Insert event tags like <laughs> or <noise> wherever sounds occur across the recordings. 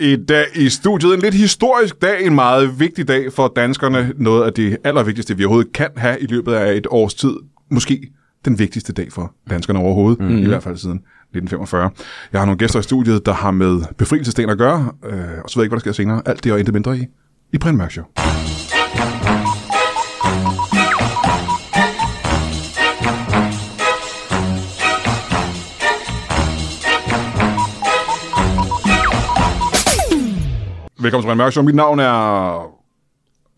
I dag i studiet en lidt historisk dag, en meget vigtig dag for danskerne. Noget af det allervigtigste, vi overhovedet kan have i løbet af et års tid. Måske den vigtigste dag for danskerne overhovedet, mm. i hvert fald siden 1945. Jeg har nogle gæster i studiet, der har med befrielsesdagen at gøre, øh, og så ved jeg ikke, hvad der sker senere. Alt det og intet mindre i, i Brian Mørk Show. Velkommen til Brian Mørk Show. Mit navn er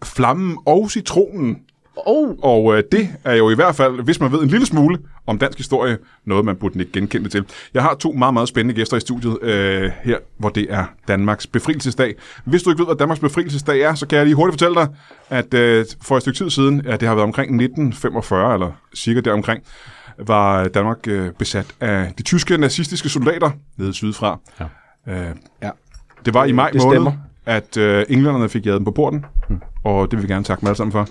Flammen og Citronen. Oh, Og øh, det er jo i hvert fald, hvis man ved en lille smule om dansk historie, noget man burde ikke genkende det til. Jeg har to meget, meget spændende gæster i studiet øh, her, hvor det er Danmarks Befrielsesdag. Hvis du ikke ved, hvad Danmarks Befrielsesdag er, så kan jeg lige hurtigt fortælle dig, at øh, for et stykke tid siden, ja, det har været omkring 1945 eller cirka deromkring, var Danmark øh, besat af de tyske nazistiske soldater nede sydfra. Ja. Øh, ja. Det var i maj Det måned, stemmer. Mm. at øh, englænderne fik jaget dem på porten, hmm. og det vil vi gerne takke dem alle sammen for.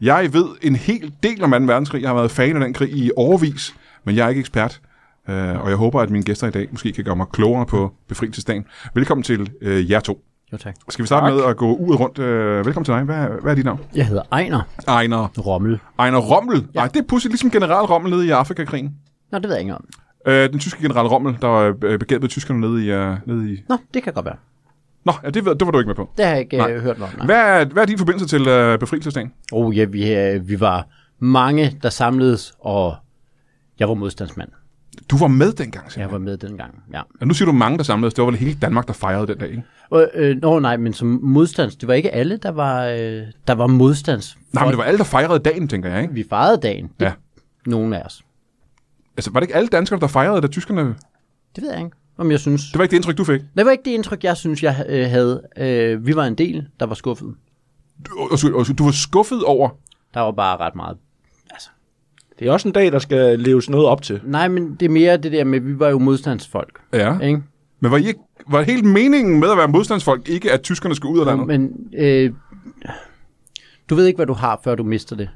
Jeg ved en hel del om 2. verdenskrig. Jeg har været fan af den krig i overvis, men jeg er ikke ekspert. Øh, og jeg håber, at mine gæster i dag måske kan gøre mig klogere på befrielsesdagen. Velkommen til øh, jer to. jo tak. Skal vi starte tak. med at gå ud rundt? Øh, velkommen til dig. Hvad, hvad er dit navn? Jeg hedder Ejner Ejner, Rommel. Ejner Rommel. Ja. Ej, det er pludselig ligesom general Rommel nede i Afrikakrigen. Nå, det ved jeg ikke om. Øh, den tyske general Rommel, der øh, begævede tyskerne nede i... Øh, nede i... Nå, det kan godt være. Nå, ja, det, ved- det var du ikke med på. Det har jeg ikke Nej. øh, hørt noget om. nej. Hvad er, hvad er din forbindelse til øh, befrielsesdagen? Oh, ja, vi, øh, vi var mange, der samledes, og jeg var modstandsmand. Du var med dengang, Jeg simpelthen. var med dengang, ja. Ja. Nu siger du mange, der samledes. Det var vel hele Danmark, der fejrede den dag, ikke? Og, øh, nå, nej, men som modstands, det var ikke alle, der var, øh, der var modstands. Nej, men det var alle, der fejrede dagen, tænker jeg, ikke? Vi fejrede dagen, det, Ja. ja. nogen af os. Altså, var det ikke alle danskere, der fejrede, da tyskerne... Det ved jeg ikke, om jeg synes. Det var ikke det indtryk, du fik. Det var ikke det indtryk, jeg synes, jeg øh, havde. Øh, vi var en del, der var skuffet. Du, undskyld, undskyld, du var skuffet over... Der var bare ret meget Det er også en dag, der skal leves noget op til. Nej, men det er mere det der med, at vi var jo modstandsfolk, Ja. ikke? Men var, I ikke, var helt meningen med at være modstandsfolk ikke, at tyskerne skulle ud af landet? Men øh, du ved ikke, hvad du har, før du mister det,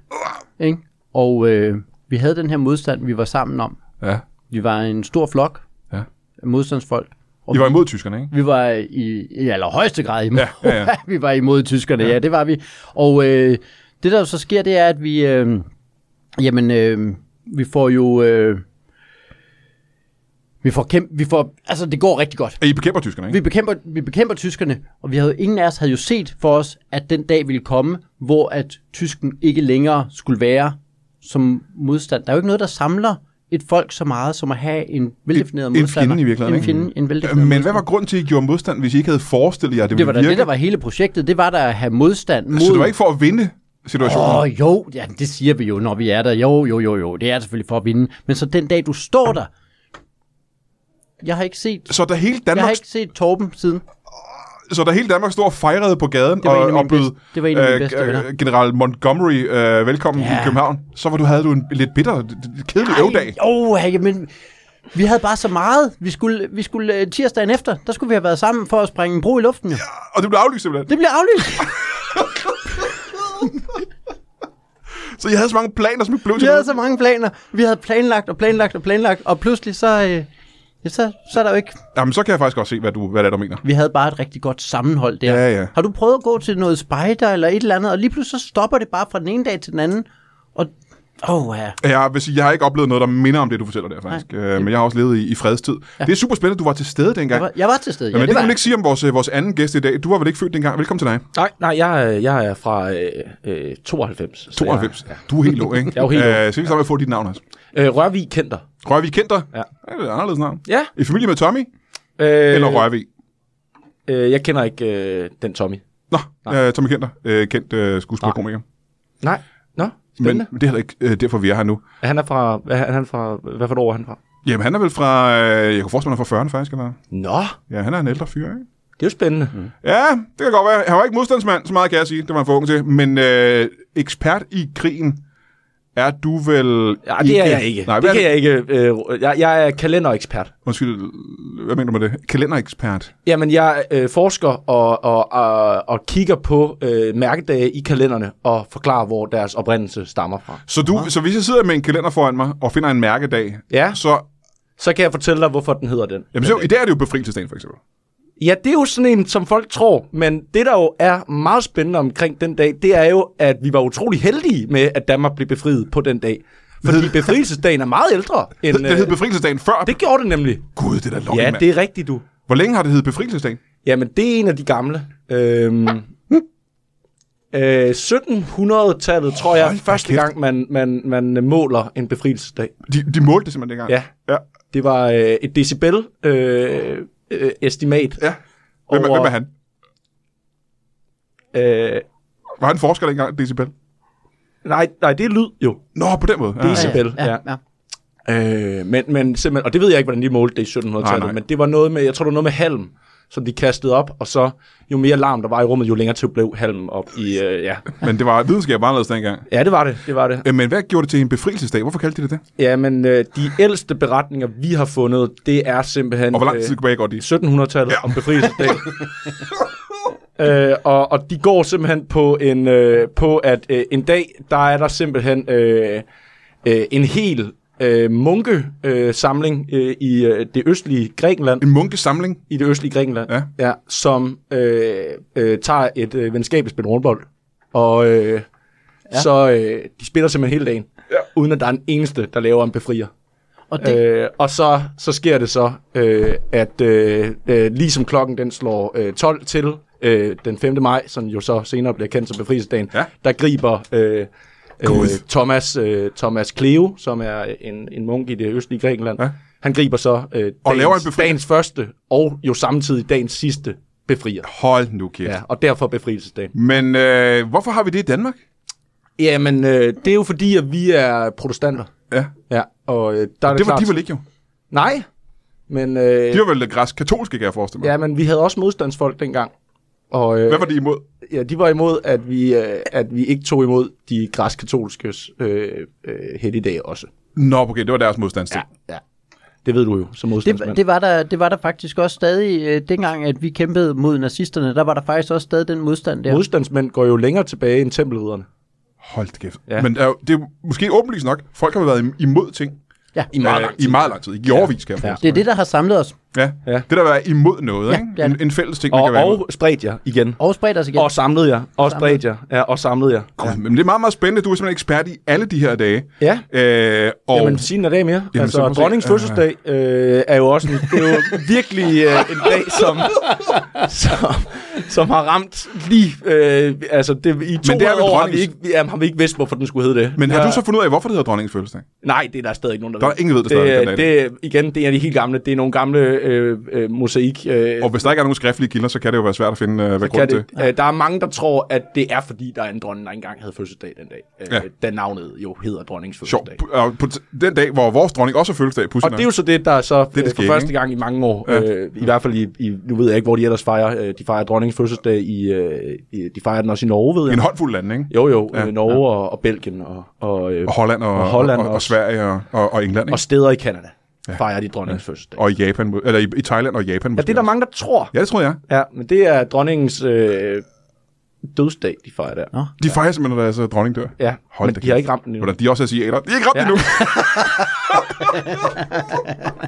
ikke? Og øh, vi havde den her modstand, vi var sammen om. Ja. Vi var en stor flok Ja. af modstandsfolk. Og I var imod tyskerne, ikke? Vi var i, i allerhøjeste grad imod. Ja, ja, ja. <laughs> vi var imod tyskerne, ja. ja, det var vi. Og øh, det, der jo så sker, det er, at vi... Øh, jamen, øh, vi får jo... Øh, vi får kæmpe, vi får, altså det går rigtig godt. At I bekæmper tyskerne, ikke? Vi bekæmper, vi bekæmper tyskerne, og vi havde, ingen af os havde jo set for os, at den dag ville komme, hvor at tysken ikke længere skulle være som modstand. Der er jo ikke noget, der samler et folk så meget, som at have en veldefineret En- en modstander. fjende i virkeligheden, En ikke? fjende, en Øh, veldefineret Men hvad modstander. var grunden til, at I gjorde modstand, hvis I ikke havde forestillet jer, at det, Det var da ville det, virke? der var hele projektet. Det var der at have modstand mod... Så det var ikke for at vinde situationen? Åh oh, jo, ja, det siger vi jo, når vi er der. Jo, jo, jo, jo, det er selvfølgelig for at vinde. Men så den dag, du står der... Jeg har ikke set... Så da hele Jeg har Danmark ikke set Torben siden. så da hele Danmark stod og fejrede på gaden Det var en af og, mine og bød øh, bedste- det var en af mine bedste venner. general Montgomery øh, velkommen Ja. i København, så var du, havde du en lidt bitter, d- d- kedelig øvdag. Åh, oh, jamen, vi havde bare så meget. Vi skulle, vi skulle øh, tirsdagen efter, der skulle vi have været sammen for at springe en bro i luften. Jo. Og det blev aflyst simpelthen. Det bliver aflyst. Så jeg havde så mange planer, som ikke blev Vi til havde noget. så mange planer. Vi havde planlagt og planlagt og planlagt, og pludselig så, øh, ja, så, så er der jo ikke... Jamen, så kan jeg faktisk godt se, hvad, du, hvad det er, du mener. Vi havde bare et rigtig godt sammenhold der. Ja, ja. Har du prøvet at gå til noget spejder eller et eller andet, og lige pludselig så stopper det bare fra den ene dag til den anden, og... Åh, oh, ja. Jeg vil sige, jeg har ikke oplevet noget, der minder om det, du fortæller der, faktisk. Øh, men jeg har også levet i, i fredstid. Ja. Det er super spændende, du var til stede Jeg dengang. var, jeg var til stede. Ja, men det, var kan man jeg. ikke sige om vores, øh, vores anden gæst i dag. Du var vel ikke født dengang. Velkommen til dig. Nej, nej, jeg, er- jeg er fra øh, øh, 92. så 92. Ja. Du er helt lå, ikke? Jeg er jo helt ung. Øh, så vi sammen med at få dit navn også. Jeg, øh, Rørvig Kenter. Rørvig Kenter. Ja. Det er et anderledes navn. Ja. I familie med Tommy? Øh, Eller Rørvig? øh, jeg kender ikke øh, den Tommy. Nå, øh, Tommy Kenter, øh, kendt øh, skuespillerkomiker. Nej. Nå, Men spændende. det er heller ikke øh, derfor, vi er her nu. Men... Han er fra, hvad, han er fra, hvad for et år er han fra? Jamen, han er vel fra, øh, jeg kunne forestille mig, han er fra 40'erne faktisk, eller? Nå, Ja, han er en ældre fyr, ikke? det er jo spændende. Mm. Ja, det kan godt være. Han var ikke modstandsmand, så meget kan jeg sige. Det var han for ung til. Men øh, ekspert i krigen er du vel Ja, det er jeg ikke. Nej, Nej, hvad det er kan det? jeg ikke. Øh, jeg, jeg er kalenderekspert. Undskyld, hvad mener du med det? Kalenderekspert. Jamen, jeg øh, forsker og, og, øh, og, og kigger på øh, mærkedage i kalenderne og forklarer, hvor deres oprindelse stammer fra. Så, du, så hvis jeg sidder med en kalender foran mig og finder en mærkedag, Ja. så... Så kan jeg fortælle dig, hvorfor den hedder den. Jamen, så, i dag er det jo befrielsesdagen, for eksempel. Ja, det er jo sådan en, som folk tror, men det, der jo er meget spændende omkring den dag, det er jo, at vi var utrolig heldige med, at Danmark blev befriet på den dag. <laughs> Fordi befrielsesdagen er meget ældre end... Det, det hed øh, befrielsesdagen før. Det... det gjorde det nemlig. Gud, det er da løgn, Ja, mand. det er rigtigt, du. Hvor længe har det heddet befrielsesdagen? Jamen, det er en af de gamle. <laughs> Øhm, øh, 1700-tallet, tror jeg, er Hold da første kæft. gang, man, man, man måler en befrielsesdag. De, de målte det simpelthen dengang. Ja. ja. Det var øh, et decibel-estimat. Øh, øh, estimat. ja. Hvem, er, Over- hvem er han? øh, Var han forsker dengang, Decibel? nej, nej, det er lyd, jo. Nå, på den måde. Ja, Det er ja. Isabel, ja. ja. Øh, men, men simpelthen, og det ved jeg ikke, hvordan de målte det i 1700-tallet, Nej, nej. men det var noget med, jeg tror, det var noget med halm, som de kastede op, og så jo mere larm der var i rummet, jo længere til blev halmen op i, øh, ja. Men det var videnskab anderledes dengang. Ja, det var det, det var det. Øh, Men hvad gjorde det til en befrielsesdag? Hvorfor kaldte de det det? Ja, men øh, de ældste beretninger, vi har fundet, det er simpelthen... Og hvor lang tid tilbage går de? øh, 1700-tallet ja. om <laughs> befrielsesdag. øh, og, og de går simpelthen på, en, øh, på at øh, en dag, der er der simpelthen øh, øh, en hel øh, munkesamling øh, samling, øh, i øh, det østlige Grækenland, En munkesamling? i det østlige Grækenland, Ja. Ja, som øh, øh, tager et øh, venskabeligt spil rundbold. Og øh, ja. så øh, de spiller simpelthen hele dagen, ja. uden at der er en eneste, der laver en befrier. Og det, Øh, og så, så sker det så, øh, at øh, øh, ligesom klokken den slår øh, 12 til øh, den 5. maj, som jo så senere bliver kendt som befrielsesdagen, Ja. der griber øh, øh, Gud. Thomas, øh, Thomas Cleo, som er en, en munk i det østlige Grækenland, Ja. ja. han griber så øh, dagens, laver en befri- dagens første og jo samtidig dagens sidste befrier. Hold nu kæft. Ja. Ja, og derfor befrielsesdagen. Men øh, hvorfor har vi det i Danmark? Jamen, øh, det er jo fordi, at vi er protestanter. Ja. Ja, og øh, der er det, Det var klart. de vel ikke jo. Nej, men... Øh, De var vel græsk-katolske, kan jeg forestille mig. Ja, men vi havde også modstandsfolk dengang. Og øh, Hvad var de imod? ja, de var imod, at vi, øh, at vi ikke tog imod de græsk-katolskes øh, øh, helligdage også. Nå, okay, det var deres modstandsting. Ja. ja. Det ved du jo som det, modstandsmand. det, var der, det var der faktisk også stadig, øh, dengang at vi kæmpede mod nazisterne, der var der faktisk også stadig den modstand der. Modstandsmænd går jo længere tilbage end tempelridderne. Hold da kæft. Ja. Ja. Men øh, det er jo måske åbenlyst nok. Folk har været im- imod ting. ja. I meget lang Øh, I meget lang tid. I årvis, kan jeg Ja. forestille Det er det, der har samlet os. mig. Ja. Ja. Det der at være imod noget, Ja, det ikke? er En, det. en fælles ting, man kan være Og, imod. og spredt jer igen. Og spredt os igen. Og samlede jer. Og spredt jer. Ja, og samlede jer. Gud, men det er meget, meget spændende. Du er simpelthen ekspert i alle de her dage. Ja. Øh, og Jamen, sig en dag mere. Jamen, så må altså, vi se. dronningens Ja. fødselsdag øh, er jo også en, det er jo virkelig øh, en dag, som, som, som har ramt lige... Øh, altså, det, i to Men det er vel år har vi, dronningens- ikke, vi- jamen, har vi ikke vidst, hvorfor den skulle hedde det. men har Ja. du så fundet ud af, hvorfor det hedder dronningens fødselsdag? Nej, det er der stadig ikke nogen, der Der er ved. ingen, der ved det stadig den det, det, Igen, det er de helt gamle. Det er nogle gamle øh, øh, mosaik... Øh, Og hvis der ikke er nogen skriftlige kilder, så kan det jo være svært at finde, øh, hvad kan grunden til. det, øh, der er mange, der tror, at det er, fordi der er en dronning, der engang havde fødselsdag den dag. Øh, Ja. Da navnet jo hedder dronningens Sjovt. fødselsdag. P- Og på t- den dag, hvor vores dronning også har fødselsdag, Og pludselig. det er jo så det, der er så det det, det for skete, første ikke? gang i mange år, ja. øh, i hvert fald i, i, nu ved jeg ikke, hvor de ellers fejrer, øh, de fejrer dronningens fødselsdag i, øh, i, de fejrer den også i Norge, ved en jeg. håndfuld lande, ikke? Jo jo, ja. øh, Norge ja. og, og Belgien og, og, øh, Og Holland og, Og Holland og, og, og også. Sverige og, og, og England, ikke? og steder i Kanada ja. fejrer de dronningens ja. fødselsdag. Og i Japan, må- eller i, i Thailand og Japan. Ja, det er der mange, der tror. Ja, det tror jeg. Ja, men det er dronningens øh, dødsdag, de fejrer der. Nå. De fejrer simpelthen, når deres øh, dronning dør. Ja, Hold men da de har kæft. ikke ramt den endnu. Hvordan de også er asiater. De er ikke ramt ja. Ja. endnu. <laughs>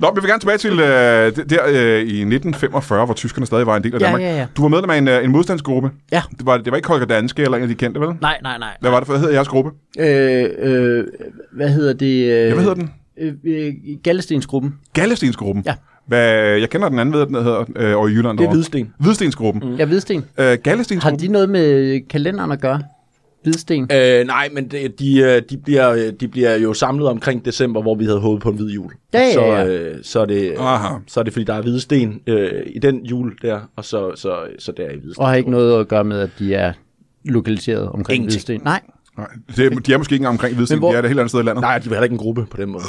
Nå, men vi vil gerne tilbage til øh, det- der øh, i 1945, hvor tyskerne stadig var en del af Ja, Danmark. ja, ja. Du var medlem af en, øh, en modstandsgruppe. Ja. Det var, det var ikke Holger Danske eller en af de kendte, vel? Nej, nej, nej. Hvad var det for? Hvad hed jeres gruppe? Øh, øh, hvad hedder det? Øh, Ja, hvad hedder den? Øh, øh, Gallestensgruppen. Gallestensgruppen. Ja. Hvad, øh, jeg kender den anden, ved jeg, den hedder, øh, over i Jylland. Det er derovre. Hvidsten. Hvidstensgruppen. Mm. Ja, Hvidsten. Øh, Har Gallestensgruppen. de noget med kalenderen at gøre? Hvidsten. Øh, nej, men de, de, øh, de, bliver, øh, de bliver jo samlet omkring december, hvor vi havde håbet på en hvid jul. Ja, ja, så, ja. Øh, så, er det, Aha. så er det, fordi der er hvide sten øh, i den jul der, og så, så, så der i hvide sten. Og har ikke noget at gøre med, at de er lokaliseret omkring Ingenting. Hvidsten. Nej. Nej, det, er- de er måske ikke engang omkring Hvidsten, Men hvor- de er et helt andet sted i landet. Nej, de var heller ikke en gruppe på den måde.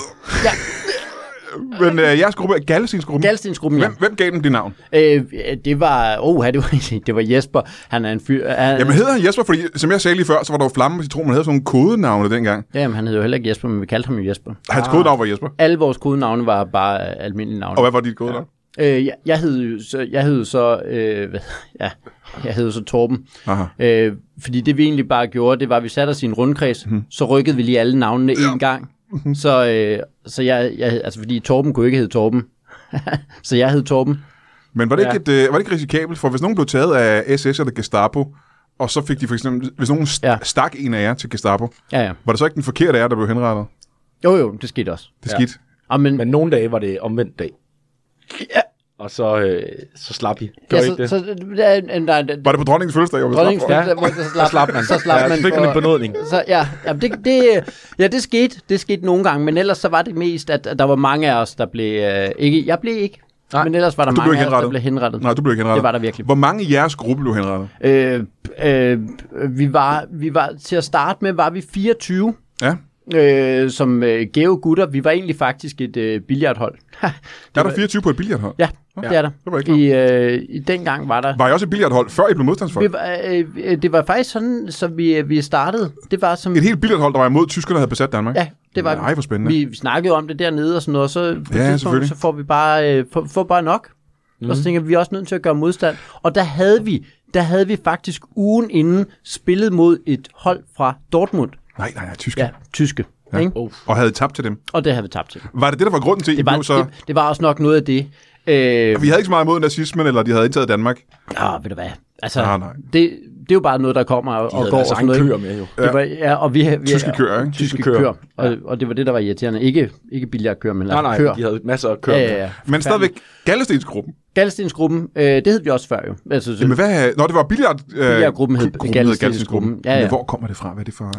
Men øh, jeres gruppe er Gallestensgruppen. Gallestensgruppen, ja. Hvem, hvem gav dem det navn? Øh, det var, oh, det var, det var Jesper. Han er en fyr. Han, Jamen hedder han Jesper, fordi som jeg sagde lige før, så var der jo flamme på citron, man havde sådan nogle kodenavne dengang. Jamen, han hed jo heller ikke Jesper, men vi kaldte ham jo Jesper. Hans kodenavn var Jesper. Alle vores kodenavne var bare øh, almindelige navne. Og hvad var dit kodenavn? Øh, jeg, jeg hed jo så, jeg hed jo så, øh, hvad, ja, jeg hed jo så Torben. Aha. Øh, fordi det vi egentlig bare gjorde, det var, at vi satte os i en rundkreds, mm. så rykkede vi lige alle navnene en gang. Så, øh, så jeg, jeg, hed- altså fordi Torben kunne ikke hedde Torben. så jeg hed Torben. Men var det, Ja. ikke et, øh, var det ikke risikabelt? For hvis nogen blev taget af SS eller Gestapo, og så fik de for eksempel, hvis nogen st- Ja. stak en af jer til Gestapo, Ja, ja. var det så ikke den forkerte af jer, der blev henrettet? Jo, jo, det skete også. Det Ja. er skidt. Og men, Men nogle dage var det omvendt dag. Ja. Og så, øh, så slap I. Gør ja, ja, I så, ikke det? så, ja, nej, nej, nej, Var det på dronningens fødselsdag? hvor vi dronningens slap for? Ja. fødselsdag, hvor så slap, slap man. Så slap Ja, man. så fik man en benådning. Så, ja, ja, det, det, ja, det skete. Det skete nogle gange, men ellers så var det mest, at, at der var mange af os, der blev... Øh, ikke, jeg blev ikke, Nej. Nej. men ellers var der Du blev mange ikke af os, der henrettet? blev henrettet. Nej, du blev ikke henrettet. Det var der virkelig. Hvor mange i jeres gruppe blev henrettet? Øh, øh, vi, var, vi var til at starte med, var vi 24 Ja. øh, som øh, gave gutter. Vi var egentlig faktisk et øh, billiardhold. Ha, det Er var- der 24 på et billiardhold? Ja, det er der. det var ikke I, øh, I dengang var der Var I også et billiardhold, før I blev modstandsfolk? Vi var, øh, øh, det var faktisk sådan, så vi, øh, vi startede. Det var som... Et helt billiardhold, der var imod tyskerne, der havde besat Danmark? Ja, det var Nej, hvor spændende. vi. Vi snakkede om det dernede og sådan noget, og så på Ja, et tidspunkt, selvfølgelig. så får vi bare, øh, får, får bare nok. Mm. Mhm. Og så tænker jeg, vi er også nødt til at gøre modstand. Og der havde vi, der havde vi faktisk ugen inden spillet mod et hold fra Dortmund. Nej, nej, nej, tyskerne. Ja, tyske. Ja. Ikke? Og havde I tabt til dem. Og det havde vi tabt til. Var det det, der var grunden til, at I Det var, blev så... det, det var også nok noget af det. Øh, Vi havde ikke så meget imod nazismen, eller de havde indtaget Danmark. Ah, ved du hvad? Altså, Ah, nej. Det, det er jo bare noget, der kommer og, og går. og deres sådan egen noget, køer ikke? med, jo. Det var, ja, og vi, vi, Tyske køer, ikke? Tyske, Tyske tyske køer. køer. Og, og, det var det, der var irriterende. Ikke, ikke billiardkøer, men altså Nej, nej, køer. de havde masser af køer. Ja, ja, ja. Men stadigvæk Gallestensgruppen. Gallestensgruppen, øh, det hed vi også før jo. Altså, så, Men hvad... Nå, det var billiard... Øh, Billiardgruppen hed gruppen Gallestensgruppen. Ja, ja. Men hvor kommer det fra? Hvad er det for...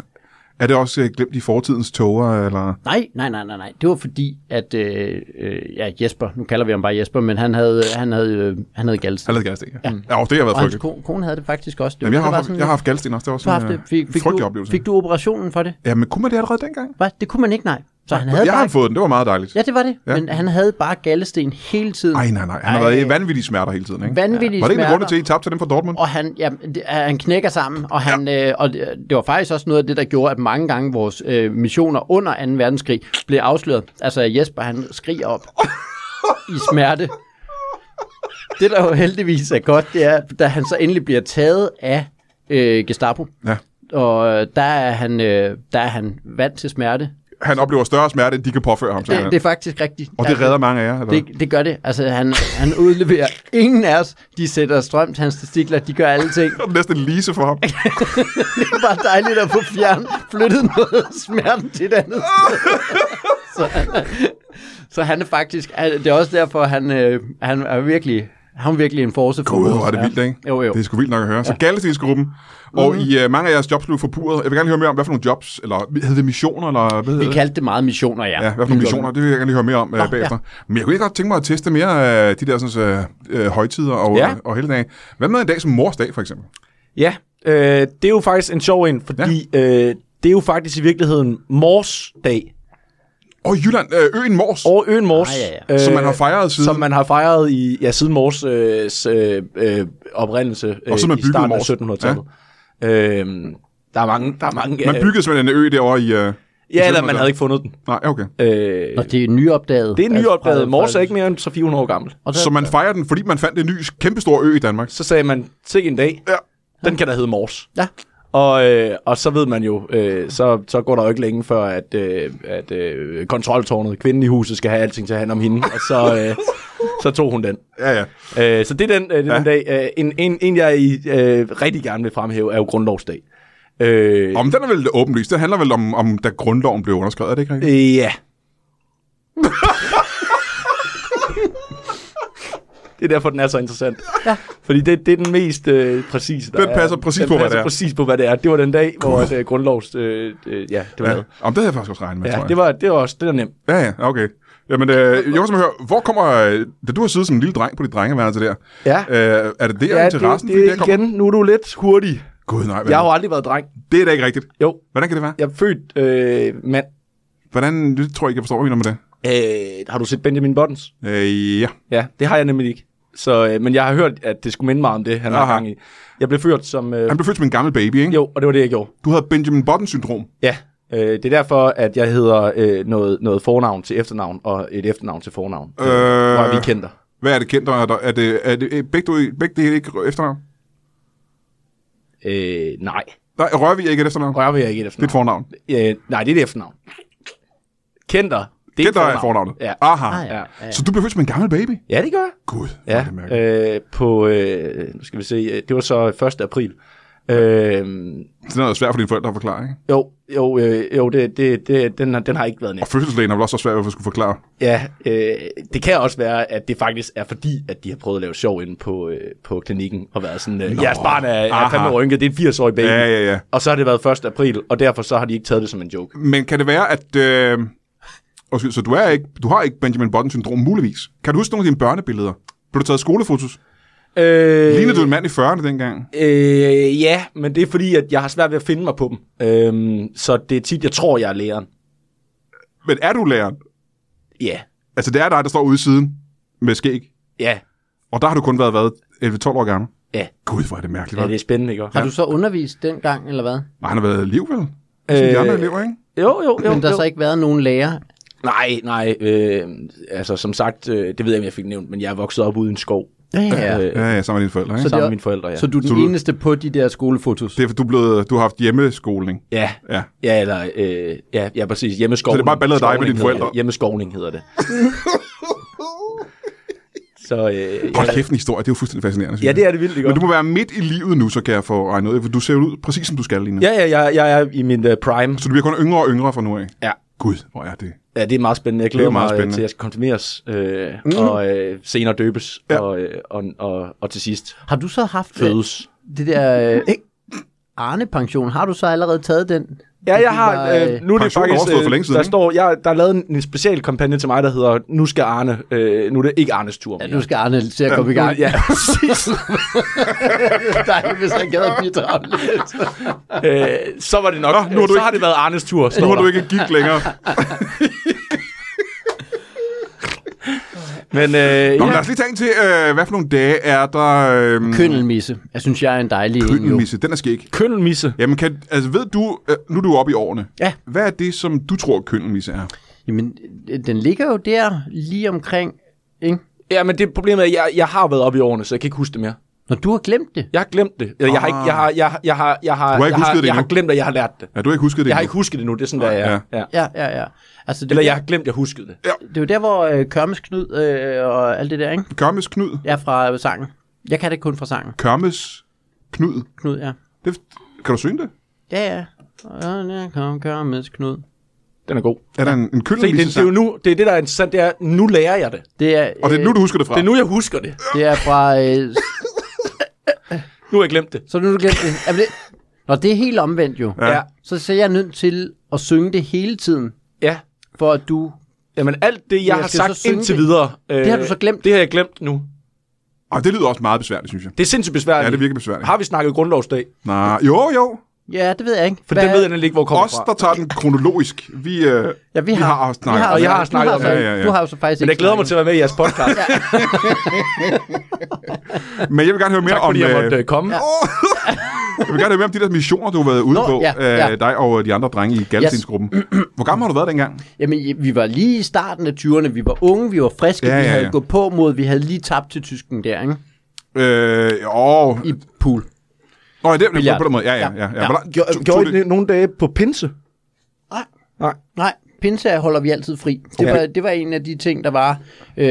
Er det også øh, glemt i fortidens toger, eller... nej, nej, nej, nej, nej. Det var fordi, at øh, øh, ja, Jesper, nu kalder vi ham bare Jesper, men han havde, han havde, øh, han havde Gallesten. Allerede Gallesten, ja. ja. og det har været Og hans frygteligt. kone, kone havde det faktisk også. Det var- Jamen, jeg har, der var haft, jeg har haft Gallesten også. Det var du har sådan haft en det. Fik, øh, fik, frygtelig du, oplevelse. fik du operationen for det? Ja, men kunne man det allerede dengang? Hva? Det kunne man ikke, nej. Så han havde Jeg bare har fået den, det var meget dejligt. Ja, det var det. Ja. Ja. Men han havde bare gallesten hele tiden. Nej, nej, nej. Han har Ej. været i vanvittige smerter hele tiden, ikke? Vanvittige Var det en af smerter. grunde til, at I tabte til dem fra Dortmund? Og han, ja, det, han knækker sammen, og, han, ja. øh, og det det var faktisk også noget af det, der gjorde, at mange gange vores øh, missioner under 2. verdenskrig blev afsløret. Altså Jesper, han skriger <laughs> op i smerte. Det, der jo heldigvis er godt, det er, da han så endelig bliver taget af øh, Gestapo, Ja. og øh, der er, han, øh, der er han vant til smerte. Han oplever større smerte, end de kan påføre ham. Det, simpelthen. det er faktisk rigtigt. Og det redder mange af jer, eller? Det, det gør det. Altså, han, han udleverer ingen af os. De sætter strøm til hans testikler. De gør alle ting. Det er næsten en lise for ham. Det er bare dejligt at få fjern, flyttet noget af smerten til et andet sted. <laughs> Så han, er- så han er faktisk... han- Det er også derfor, han, øh, han er virkelig... Han er virkelig en force for Gud, vores- hvor er det ja. vildt, ikke? Jo, jo. Det er sgu vildt nok at høre. Så Gallestinsgruppen, og i uh, mange af jeres jobs blev forpurret. Jeg vil gerne lige høre mere om, hvad for nogle jobs, eller havde det missioner, eller hvad hedder Vi det? kaldte det meget missioner, ja. Ja, hvad for nogle missioner, det vil jeg gerne lige høre mere om uh, bagefter. Men jeg kunne ikke godt tænke mig at teste mere uh, de der sådan, uh, uh, højtider og, Ja. ja. og helgedage. Hvad med en dag som mors dag, for eksempel? Ja, øh, det er jo faktisk en sjov en, fordi ja. øh, det er jo faktisk i virkeligheden Mors dag. Og i Jylland, uh, øen Mors, Over øen Mors. Ah, ja, Øh, som man har fejret siden. Som man har fejret i, ja, siden Mors øh, s- øh, øh, oprindelse øh, Og så man i byggede starten Mors. af 1700-tallet. Ja. Øhm, der er mange... Der er mange øh, man byggede simpelthen en ø derovre i... Uh, ja, eller man havde ikke fundet den. Nej, okay. Øh, Og det er nyopdaget. det er nyopdaget. Altså, Mors er ikke mere end 400 år gammel. Og Så så, man fejrer den, fordi man fandt en ny, kæmpestor ø i Danmark. Så sagde man, til en dag, Ja. den kan da hedde Mors. ja. Og, øh, og så ved man jo, øh, så, så går der jo ikke længe før, at, øh, at øh, kontroltårnet, kvinden i huset, skal have alting til at handle om hende. Og så, øh, så tog hun den. Ja, ja. Øh, så det er den, øh, det er den dag. Øh, en, en, en, jeg øh, rigtig gerne vil fremhæve, er jo grundlovsdag. Øh, Om den er vel åbenlyst. Det handler vel om, om da grundloven blev underskrevet, er det ikke rigtigt? øh, ja. det er derfor, den er så interessant. Ja. Fordi det, det er den mest øh, præcise, der Den passer er. præcis den på, hvad passer det er. præcis på, hvad det er. Det var den dag, hvor at, øh, grundlovs... Øh, øh, ja, det var Ja. ja. Om det havde jeg faktisk også regnet med, tror Ja, jeg. det var, det var også det der nemt. Ja, ja, okay. Jamen, øh, jeg vil simpelthen høre, hvor kommer... øh, Da du har siddet som en lille dreng på dit drengeværelse der, Ja. øh, er det der ja, Ja, interessen? det, fordi det, der kommer- igen, nu er du lidt hurtig. Gud, nej. Hvad? Jeg har jo aldrig været dreng. Det er da ikke rigtigt. Jo, Hvordan kan det være? jeg er født øh, mand. Hvordan, det tror jeg ikke, jeg forstår, hvad jeg mener med det. Øh, har du set Benjamin Buttons? Øh, ja. Ja, det har jeg nemlig ikke. Så, øh, men jeg har hørt, at det skulle minde mig om det, han Aha. har gang i. Jeg blev født som... Øh, Han blev født som en gammel baby, ikke? jo, og det var det, jeg gjorde. Du havde Benjamin Button-syndrom. Ja, øh, det er derfor, at jeg hedder øh, noget, noget fornavn til efternavn, og et efternavn til fornavn. Øh. Hvor er vi kendte. Hvad er det kendt? Er, der, er det, er det er begge, du, begge det ikke efternavn? Øh, nej, Nej, Rørvig er ikke et efternavn. rører vi ikke et Det er et efternavn. fornavn. Øh, nej, det er et efternavn. Kender er Gæt dig fornavn. fornavnet. Ja. Aha. Ah, ja. Ja. Ja. Så du blev født som en gammel baby? Ja, det gør jeg. Gud, hvor er Ja, det mærkeligt. øh, på, øh, nu skal vi se, øh, det var så 1. april. Øh, Det er noget svært for dine forældre at forklare, ikke? jo, jo, øh, jo det, det, det, den, har, den har ikke været nem. Og fødselslægen har vel også svært ved at skulle forklare. Ja, øh, det kan også være, at det faktisk er fordi, at de har prøvet at lave sjov inde på, øh, på klinikken, og været sådan, øh, jeres barn er, er Aha. fandme rynket, det er en 80-årig baby. Ja, ja, ja. Og så har det været 1. april, og derfor så har de ikke taget det som en joke. Men kan det være, at... Øh... Undskyld, så du, er ikke, du har ikke Benjamin Button-syndrom, muligvis. Kan du huske nogle af dine børnebilleder? Blev du taget skolefotos? Øh, Lignede du en mand i 40'erne dengang? Øh, ja, men det er fordi, at jeg har svært ved at finde mig på dem. Øh, så det er tit, jeg tror, jeg er læreren. Men er du læreren? Ja, Altså, det er dig, der står ude i siden med skæg. ja, Og der har du kun været, været 11-12 år gammel. ja. Gud, hvor er det mærkeligt. Ja, Ja, det er spændende, ikke? også? Har du så undervist dengang, eller hvad? Og han har været liv, vel? Som de Øh, andre elever, ikke? Jo, jo, jo. Men der jo. har så ikke været nogen lærer. Nej, nej. Øh, altså, som sagt, øh, det ved jeg, ikke, om jeg fik nævnt, men jeg er vokset op uden skov. Ja, ja. Ja, ja, sammen med dine forældre, ikke? Så Så... det Øh, Sammen er- med mine forældre, ja. Så du er den Så du- eneste på de der skolefotos. Det er, for du, er blevet, du har haft hjemmeskoling. Ja, Ja. ja, eller, øh, ja, ja, præcis. Hjemmeskovning. Så det er bare billeder af dig med Skovning dine hedder forældre. det. Hjemmeskovning hedder <laughs> det. så, øh, Hold ja, kæft en historie, det er jo fuldstændig fascinerende. synes ja, jeg. det er det vildt, ikke? Men du må være midt i livet nu, så kan jeg få regnet ud, for du ser ud præcis, som du skal lige nu. Ja, ja, jeg, jeg er i min uh, prime. Så du bliver kun yngre og yngre fra nu af. Ja. Gud, hvor er det. Ja, det er meget spændende. Jeg glæder meget mig øh, spændende. til, at jeg skal konfirmeres, øh, mm. og øh, senere døbes, Ja. ja. og, øh, og, og, og til sidst Har du så haft øh, fødes. det der øh, Arne-pension? Har du så allerede taget den? Ja, jeg har, var, øh, øh, nu er det pensionen faktisk, overstået øh, for længe siden, der ikke? står, jeg, der er lavet en, en special kampagne til mig, der hedder, nu skal Arne, øh, nu er det ikke Arnes tur Ja, mere. nu skal Arne til at komme i gang. Ja, <laughs> præcis. Dejligt, hvis han gad at bidrage lidt. øh, så var det nok, Nå, nu er du så ikke- har det været Arnes tur. Nu står har du der. ikke gik længere. Men Nå, øh, men ja, lad os lige tage en til, øh, hvad for nogle dage er der... Øh, Køndelmisse. Jeg synes, jeg er en dejlig en, jo. køndelmisse, den er skæg. køndelmisse. Jamen, kan, altså, ved du, øh, nu er du oppe i årene. Ja. Hvad er det, som du tror, køndelmisse er? Jamen, øh, den ligger jo der, lige omkring, ikke? Ja, men det problemet er, at jeg, jeg har været oppe i årene, så jeg kan ikke huske det mere. Når du har glemt det. Jeg har glemt det. Eller, jeg har ikke, jeg har, jeg, har- jeg har, jeg har, Du har ikke jeg, har, husket det jeg har endnu. glemt, at jeg har lært det. Ja, du har ikke husket det Jeg har endnu. ikke husket det nu, det er sådan, der Nej, jeg ja. Ja. Ja, ja, ja. Altså, det, Eller er jeg der- har glemt, at jeg huskede det. det er jo der, hvor øh, Kørmes Knud øh, og alt det der, ikke? Kørmes Knud. Ja, fra øh, sangen. Jeg kan det kun fra sangen. Kørmes Knud. Knud, ja. Det, kan du synge det? Ja, ja. Og der kom Kørmes Knud. Den er god. Er der en, en Se, det, køndelmisse det, er jo nu, det er det, der er interessant, det er, nu lærer jeg det. Det er, Og det er nu, øh, du husker det fra. Det er nu, jeg husker det. det er fra... Øh, Nu har jeg glemt det. så nu har du glemt det. Jamen, det. Nå, det er helt omvendt jo. Ja. Ja. Så, så er jeg nødt til at synge det hele tiden, ja. for at du... Jamen alt det, jeg, jeg har skal så sagt synge indtil det. videre. Øh, har du så glemt. Det har jeg glemt nu. Og det lyder også meget besværligt, synes jeg. Det er sindssygt besværligt. Ja, det virker besværligt. Har vi snakket grundlovsdag? Nej, jo, jo. Ja, det ved jeg ikke. For den ved jeg nemlig ikke, hvor kommer Os, fra. der tager den kronologisk. Vi, øh, Ja, vi vi har, har snakket om og det. jeg har du snakket om så- det. Ja, ja, ja. Du har jo så faktisk Men ikke jeg glæder mig til at være med i jeres <laughs> podcast. ja. Men jeg vil gerne høre mere Tak om... fordi jeg måtte øh, øh, komme. Ja. jeg vil gerne høre mere om de der missioner, du har været ude Nå, på. ja, ja. øh, Dig og de andre drenge i Galatinsgruppen. Hvor gammel har du været dengang? snakke. Jamen, vi var lige i starten af 20'erne. Vi var unge, vi var friske, Ja, ja, vi ja, havde ja. gået på mod, vi havde lige tabt til tysken der, ikke? Øh, jo. I pool. Nå, ja, det er Billiard. på den måde. Ja, ja, ja. ja. Ja. Hvordan- tog- tog Gjorde I det- det nogle dage på pinse? Nej. Nej. Nej, pinsager holder vi altid fri. Det, Okay. var, det var en af de ting, der var. Øh,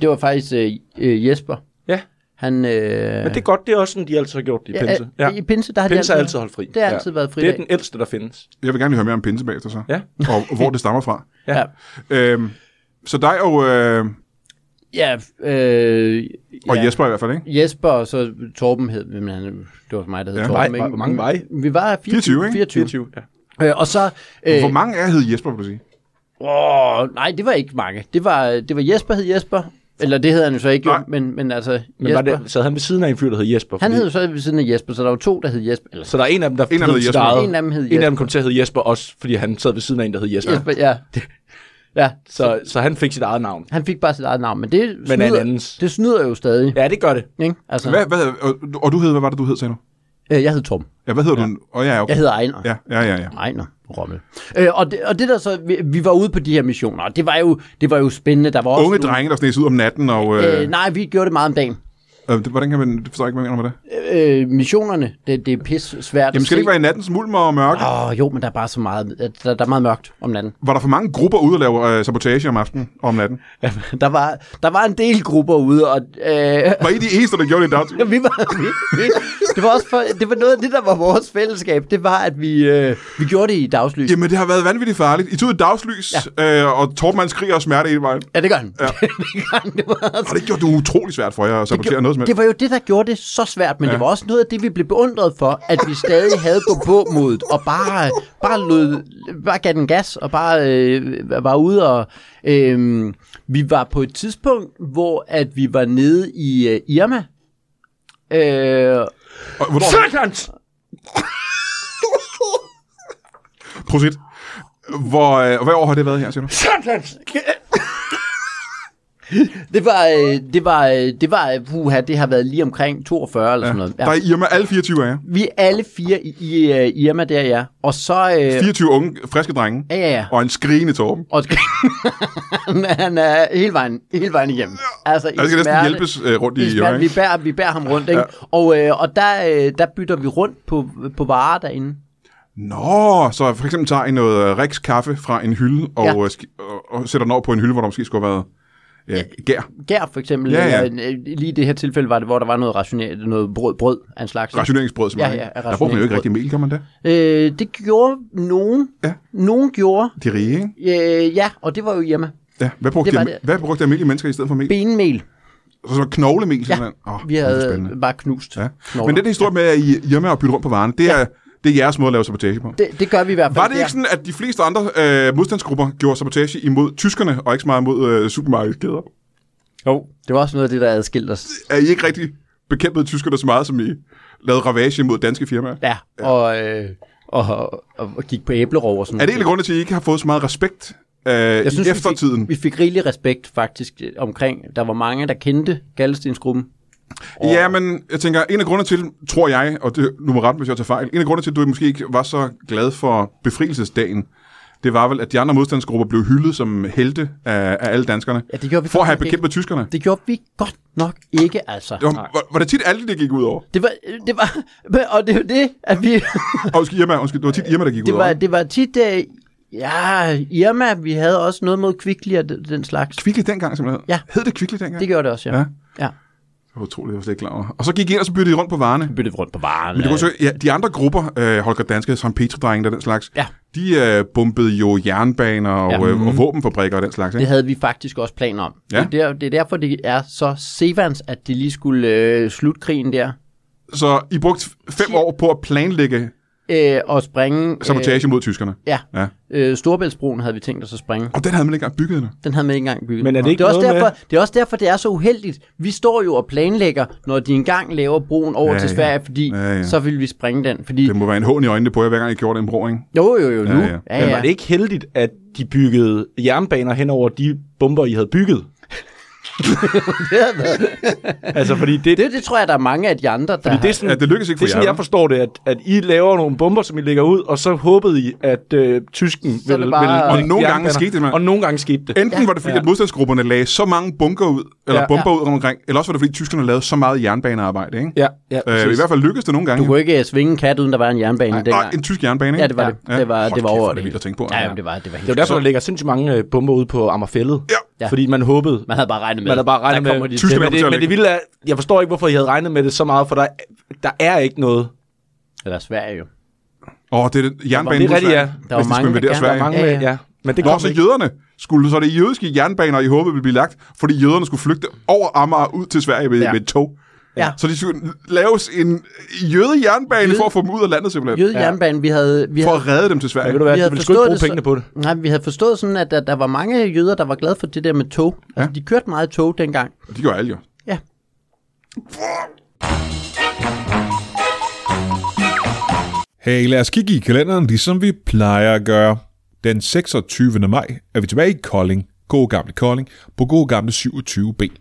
det var faktisk øh, øh, Jesper. Ja, Han, øh, men det er godt. Det er også sådan, de altid har gjort det i pinse. Ja, I pinse, der har Pinse de altid, har altid holdt fri. Det har altid været fri Det er den ældste, der findes. Jeg vil gerne lige høre mere om pinse bagefter så. Ja. Og hvor det stammer fra. ja. Øhm, så dig og, øh, Ja, øh, og ja. ja. Jesper i hvert fald, ikke? Jesper og så Torben hed, men han, det var mig, der hed Ja. Torben. Nej, ikke? hvor mange var I? Vi var 24. 24, ikke? 24. 24, ja. Øh, og så... Øh, Hvor mange af hed Jesper, vil du sige? åh, nej, det var ikke mange. Det var, det var Jesper hed Jesper. Eller det hed han jo så ikke, jo, Nej. men, men altså Men var Jesper. det, sad han ved siden af en fyr, der hed Jesper? Han Fordi- hed jo så ved siden af Jesper, så der var to, der hed Jesper. Eller Så der er en af dem, der En af dem hed sit Jesper. eget- En af dem hed En af dem Jesper. kom til at hedde Jesper også, fordi han sad ved siden af en, der hed Jesper. Jesper, ja. Det, ja, Så, så han fik sit eget navn. han fik bare sit eget navn, men det Men snyder, andens. det snyder jo stadig. Ja, det gør det. Ikke? Altså, Hvad, hvad, og, og du hed, hvad var det, du hed, sagde du? øh, jeg hed Tom. Ja, hvad hedder ja. du? Og oh, ja, okay. Jeg hedder Ejner. Ja, ja, ja, ja. Ejner Rommel. Øh, og, det, og det der så, vi, vi var ude på de her missioner, og det var jo, det var jo spændende. Der var også Unge nogle- drenge, der snes ud om natten, og... Øh, Øh, nej, vi gjorde det meget om dagen. øh, det, hvordan kan man... Det forstår jeg ikke, hvad jeg mener med det. øh, missionerne. Det, det er pis svært Jamen, skal det ikke være i nattens mulmer og mørke? Åh, oh, jo, men der er bare så meget, der, der er meget mørkt om natten. Var der for mange grupper ude og lave øh, sabotage om aftenen og om natten? Der var, der var en del grupper ude, og øh, <laughs> Var I de eneste, der gjorde det i dagtid? vi var, vi, vi, det, var også for, det var noget af det, der var vores fællesskab. Det var, at vi, øh, vi gjorde det i dagslys. Jamen, det har været vanvittigt farligt. I tog i dagslys, ja. øh, og Torben han skriger og smerte hele vejen. Ja, det gør han. Ja. <laughs> det, gør han. det, var, Og det gjorde du utrolig svært for jer at sabotere noget som helst. det var jo det, der gjorde det så svært, men ja. det var også noget af det, vi blev beundret for, at vi stadig havde på på modet, og bare, bare, lød, bare gav den gas, og bare øh, var ude og... Øh, vi var på et tidspunkt, hvor at vi var nede i øh, Irma, øh, Og, hvornår, Satans! prosit. Hvor, øh, hvad år har det været her, siger du? Satans! Det var, øh, det var, øh, det var, øh, puha, det har været lige omkring 42 eller sådan noget. Der Ja. er Irma, alle 24 af jer. Vi er alle fire i, i øh, Irma der, ja. Og så... Øh, 24 unge, friske drenge. ja, ja, ja. Og en skrigende Torben. Og <laughs> skal, han, er- han er hele vejen, hele vejen igennem. Altså, i Der skal næsten hjælpes øh, rundt i i Irma, smerte, vi, ikke? bærer, vi bærer ham rundt, ikke? Ja. Og, øh, og der, øh, der bytter vi rundt på, på varer derinde. Nå, så for eksempel tager I noget øh, Rex kaffe fra en hylde, og, Ja. ja. og, og sætter den over på en hylde, hvor der måske skulle have været ja, gær. Gær for eksempel. Ja, ja. eller en- øh, Lige i det her tilfælde var det, hvor der var noget, rationer, noget brød, brød af en slags. Rationeringsbrød, som Ja, er, ja, ikke? Der bruger man jo ikke rationeringsbrød. rigtig mel, gør man det? Øh, det gjorde nogen. Ja. Nogen gjorde. De rige, ikke? Øh, ja, og det var jo Irma. Ja, hvad brugte, det Det var de, det. hvad brugte almindelige mennesker i stedet for mel? benmel. Så sådan noget knoglemel, simpelthen. Ja, oh, Vi havde øh, bare knust. Ja. Ja. Men den historie med, at I hjemme og bytte rundt på varerne, det er, det er jeres måde at lave sabotage på. det, det gør vi i hvert fald. Var det ikke sådan, at de fleste andre øh, modstandsgrupper gjorde sabotage imod tyskerne, og ikke så meget mod øh, supermarkedskæder? Jo. Det var også noget af det, der adskilte os. Er I ikke rigtig bekæmpede tyskerne så meget, som I lavede ravage mod danske firmaer? Ja, og, øh, og, og, og gik på æblerov og sådan Er det noget. egentlig grunden til, at I ikke har fået så meget respekt øh, i vi fik- eftertiden? Vi fik rigelig respekt faktisk øh, omkring, der var mange, der kendte Gallestensgruppen. Ja, men jeg tænker, en af grundene til, tror jeg, og det nu må rette, mig, hvis jeg tager fejl, en af grundene til, at du måske ikke var så glad for befrielsesdagen, det var vel, at de andre modstandsgrupper blev hyldet som helte af, af alle danskerne, Ja, det gjorde vi for at godt have nok ikke. bekæmpet tyskerne. Det Det gjorde vi godt nok ikke, altså. var, var, var det tit alle, det gik ud over? Det var, det var, og det var <laughs> det, at vi, Og undskyld, Irma, undskyld, det var tit Irma, der gik ud Øh, det over. var, ikke? det var tit, øh, ja, Irma, vi havde også noget mod Kvickly og den den slags. Kvickly dengang, simpelthen? Ja. Hed det Kvickly dengang? Det gjorde det også, ja. Ja. ja. Det var utroligt, jeg var slet ikke klar over. Og så gik I ind, og så byttede I rundt på varerne. Byttede vi rundt på varen. Men det kunne så, ja, de andre grupper, øh, Holger Danske, som Petri-drengene og den slags, Ja. de øh, bombede jo jernbaner og, Ja. ja. øh, og våbenfabrikker og den slags. Ikke? Det havde vi faktisk også planer om. Ja. Det, er der, det er derfor, det er så sevans, at de lige skulle øh, slutte krigen der. Så I brugte fem år på at planlægge Øh, og springe... Øh, sabotage mod tyskerne. ja. Ja. Øh, Storbæltsbroen havde vi tænkt os at springe. Og den havde man ikke engang bygget endnu. Den havde man ikke engang bygget. Men er det ikke det, er også noget derfor, med- det er også derfor, det er så uheldigt. Vi står jo og planlægger, når de engang laver broen over Ja, til ja. Sverige, fordi Ja, ja. så vil vi springe den. Fordi, Det må være en hån i øjnene på jer, hver gang I gjorde den bro, ikke? jo, jo, jo, nu. ja. Men <laughs> var det ikke heldigt, at de byggede jernbaner hen over de bomber, I havde bygget? altså, fordi det, det, det tror jeg, der er mange af de andre, der fordi det er har- sådan, Ja, det lykkedes ikke det er for sådan jer, jeg forstår det, at, at I laver nogle bomber, som I lægger ud, og så håbede I, at øh, tysken er det ville... bare- ville Og lægge nogle gange jernbaner. skete det, Øh, mand. Og nogle gange skete det. Enten Ja. var det fordi, Ja. at modstandsgrupperne lagde så mange bunker ud, eller Ja. bomber ud rundt omkring, eller også var det fordi, tyskerne lavede så meget jernbanearbejde, ikke? Ja, ja, Øh, I hvert fald lykkedes det nogle gange. Du kunne ikke øh, svinge en kat, uden der var en jernbane Nej, Nej, en dengang. tysk jernbane, ikke? Ja, det var det. Det var, Hold det var kæft, hvor over er det vildt at tænke på. Ja, jamen, det var, det var helt Det var derfor, der ligger sindssygt mange øh, bomber ude på Ammerfællet. Ja. Fordi man håbede... Man havde bare regnet med Man havde bare regnet der kommer med... de Tyskerne til. Tyskland men kommer til det, at men det ligge. vilde er, jeg forstår ikke, hvorfor I havde regnet med det så meget, for der, der er ikke noget. Eller Sverige jo. Åh, det er det- jernbanen. Det er mod rigtigt, ja. Sverige, Der var hvis de mange, skulle der invadere gerne- Der Sverige. er mange Ja, med, ja. ja. Men det Nå, kom så ikke. jøderne skulle, så det jødiske jernbaner, I håbede ville blive lagt, fordi jøderne skulle flygte over Amager ud til Sverige med, Ja. ja. med et tog. Ja. Så de skulle laves en jødejernbane Jøde- for at få dem ud af landet simpelthen. Jøde jernbanen, vi havde... Vi For havde at redde dem til Men Sverige. ved du hvad, vi de havde ville sgu ikke forstået bruge det så- pengene på det. Nej, vi havde forstået sådan, at der, der var mange jøder, der var glade for det der med tog. Ja. Altså, de kørte meget tog dengang. De gør alle jo. Ja. Hey, lad os kigge i kalenderen, ligesom vi plejer at gøre. Den 26. maj er vi tilbage i Kolding. God gamle Kolding på god gamle 27B.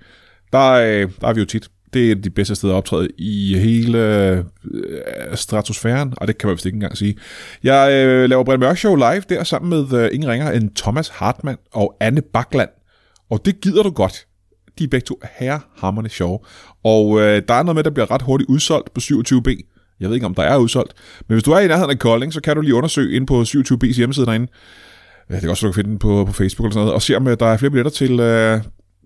Der, øh, der er vi jo tit. Det er de bedste steder at optræde i hele øh, stratosfæren, og det kan man vist ikke engang sige. Jeg øh, laver Brian Mørk Show live der sammen med øh, ingen ringer end Thomas Hartmann og Anne Bakland. Og det gider du godt. De er begge to herrehammerne sjove. Og øh, der er noget med, der bliver ret hurtigt udsolgt på 27B. Jeg ved ikke, om der er udsolgt. Men hvis du er i nærheden af Kolding, så kan du lige undersøge ind på 27B's hjemmeside derinde. Ja, det kan også være, du kan finde den på, på Facebook eller sådan noget. Og se, om øh, der er flere billetter til øh,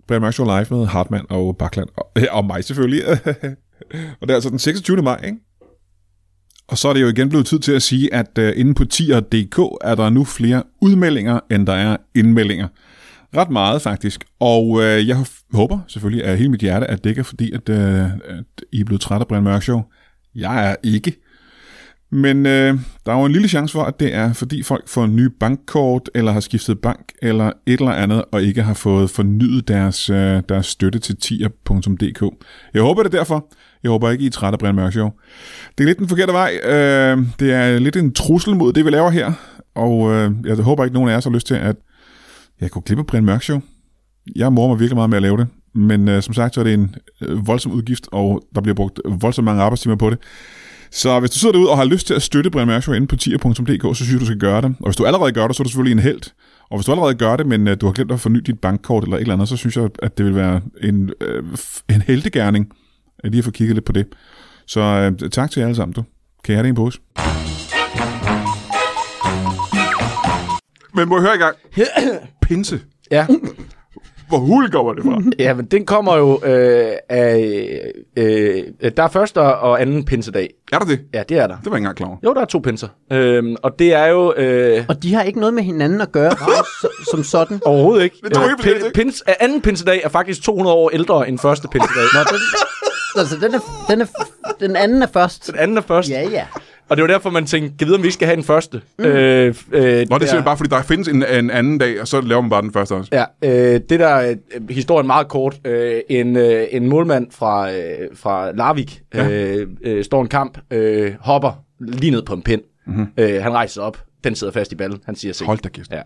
Brian Mørk Show Live med Hartmann og Bakland. Og, <laughs> øh, og mig selvfølgelig. <laughs> og det er altså den 26. maj, ikke? Og så er det jo igen blevet tid til at sige, at øh, inde på tier.dk er der nu flere udmeldinger, end der er indmeldinger. Ret meget faktisk. Og øh, jeg f- håber selvfølgelig af hele mit hjerte, at det ikke er fordi, at, øh, at I er blevet træt af Brian Mørk Show. Jeg er ikke. Men øh, der er jo en lille chance for, at det er fordi folk får nye bankkort, eller har skiftet bank, eller et eller andet, og ikke har fået fornyet deres, øh, deres støtte til tier.dk. Jeg håber det er derfor. Jeg håber ikke, I er trætte af Brian Mørk Show. Det er lidt den forkerte vej. Øh, det er lidt en trussel mod det, vi laver her. Og øh, jeg håber ikke, nogen af jer har lyst til, at jeg kunne klippe Brian Mørk Show. Jeg morer mig virkelig meget med at lave det. Men øh, som sagt, så er det en øh, voldsom udgift, og der bliver brugt voldsomt mange arbejdstimer på det. Så hvis du sidder derude og har lyst til at støtte Brian Mørk Show inde på tier.dk, så synes jeg, du skal gøre det. Og hvis du allerede gør det, så er du selvfølgelig en held. Og hvis du allerede gør det, men øh, du har glemt at forny dit bankkort eller et eller andet, så synes jeg, at det vil være en, øh, f- en heltegærning øh, lige at få kigget lidt på det. Så øh, tak til jer alle sammen, du. Kan jeg have det i en pose? Men må jeg høre i gang? Pinse. Ja. Hvor hul kommer det fra? <laughs> Ja, men den kommer jo øh, af... Øh, der er første og anden pinsedag. Er der det? Ja, det er der. Det var jeg ikke engang klar over. Jo, der er to pinser. Øhm, og det er jo... Øh, Og de har ikke noget med hinanden at gøre, <laughs> så- som sådan. overhovedet ikke. Men det var ikke pin- pinsedag. pins, øh, anden pinsedag er faktisk 200 år ældre end første <laughs> pinsedag. Nå, den, Altså, den, er, den, er, den anden er først. den anden er først. Ja, ja. Og det var derfor, man tænkte, giv videre, om vi skal have den første. Mm. Øh, øh, Nå, det Nå, er det er simpelthen bare, fordi der findes en, en anden dag, og så laver man bare den første også. Ja, øh, det der øh, historien meget kort. Øh, en, øh, en målmand fra, øh, fra Larvik ja. øh, øh, står en kamp, øh, hopper lige ned på en pind. Mm-hmm. Øh, han rejser sig op, den sidder fast i ballen, han siger sig. Mhm. Hold da kæft. Ja.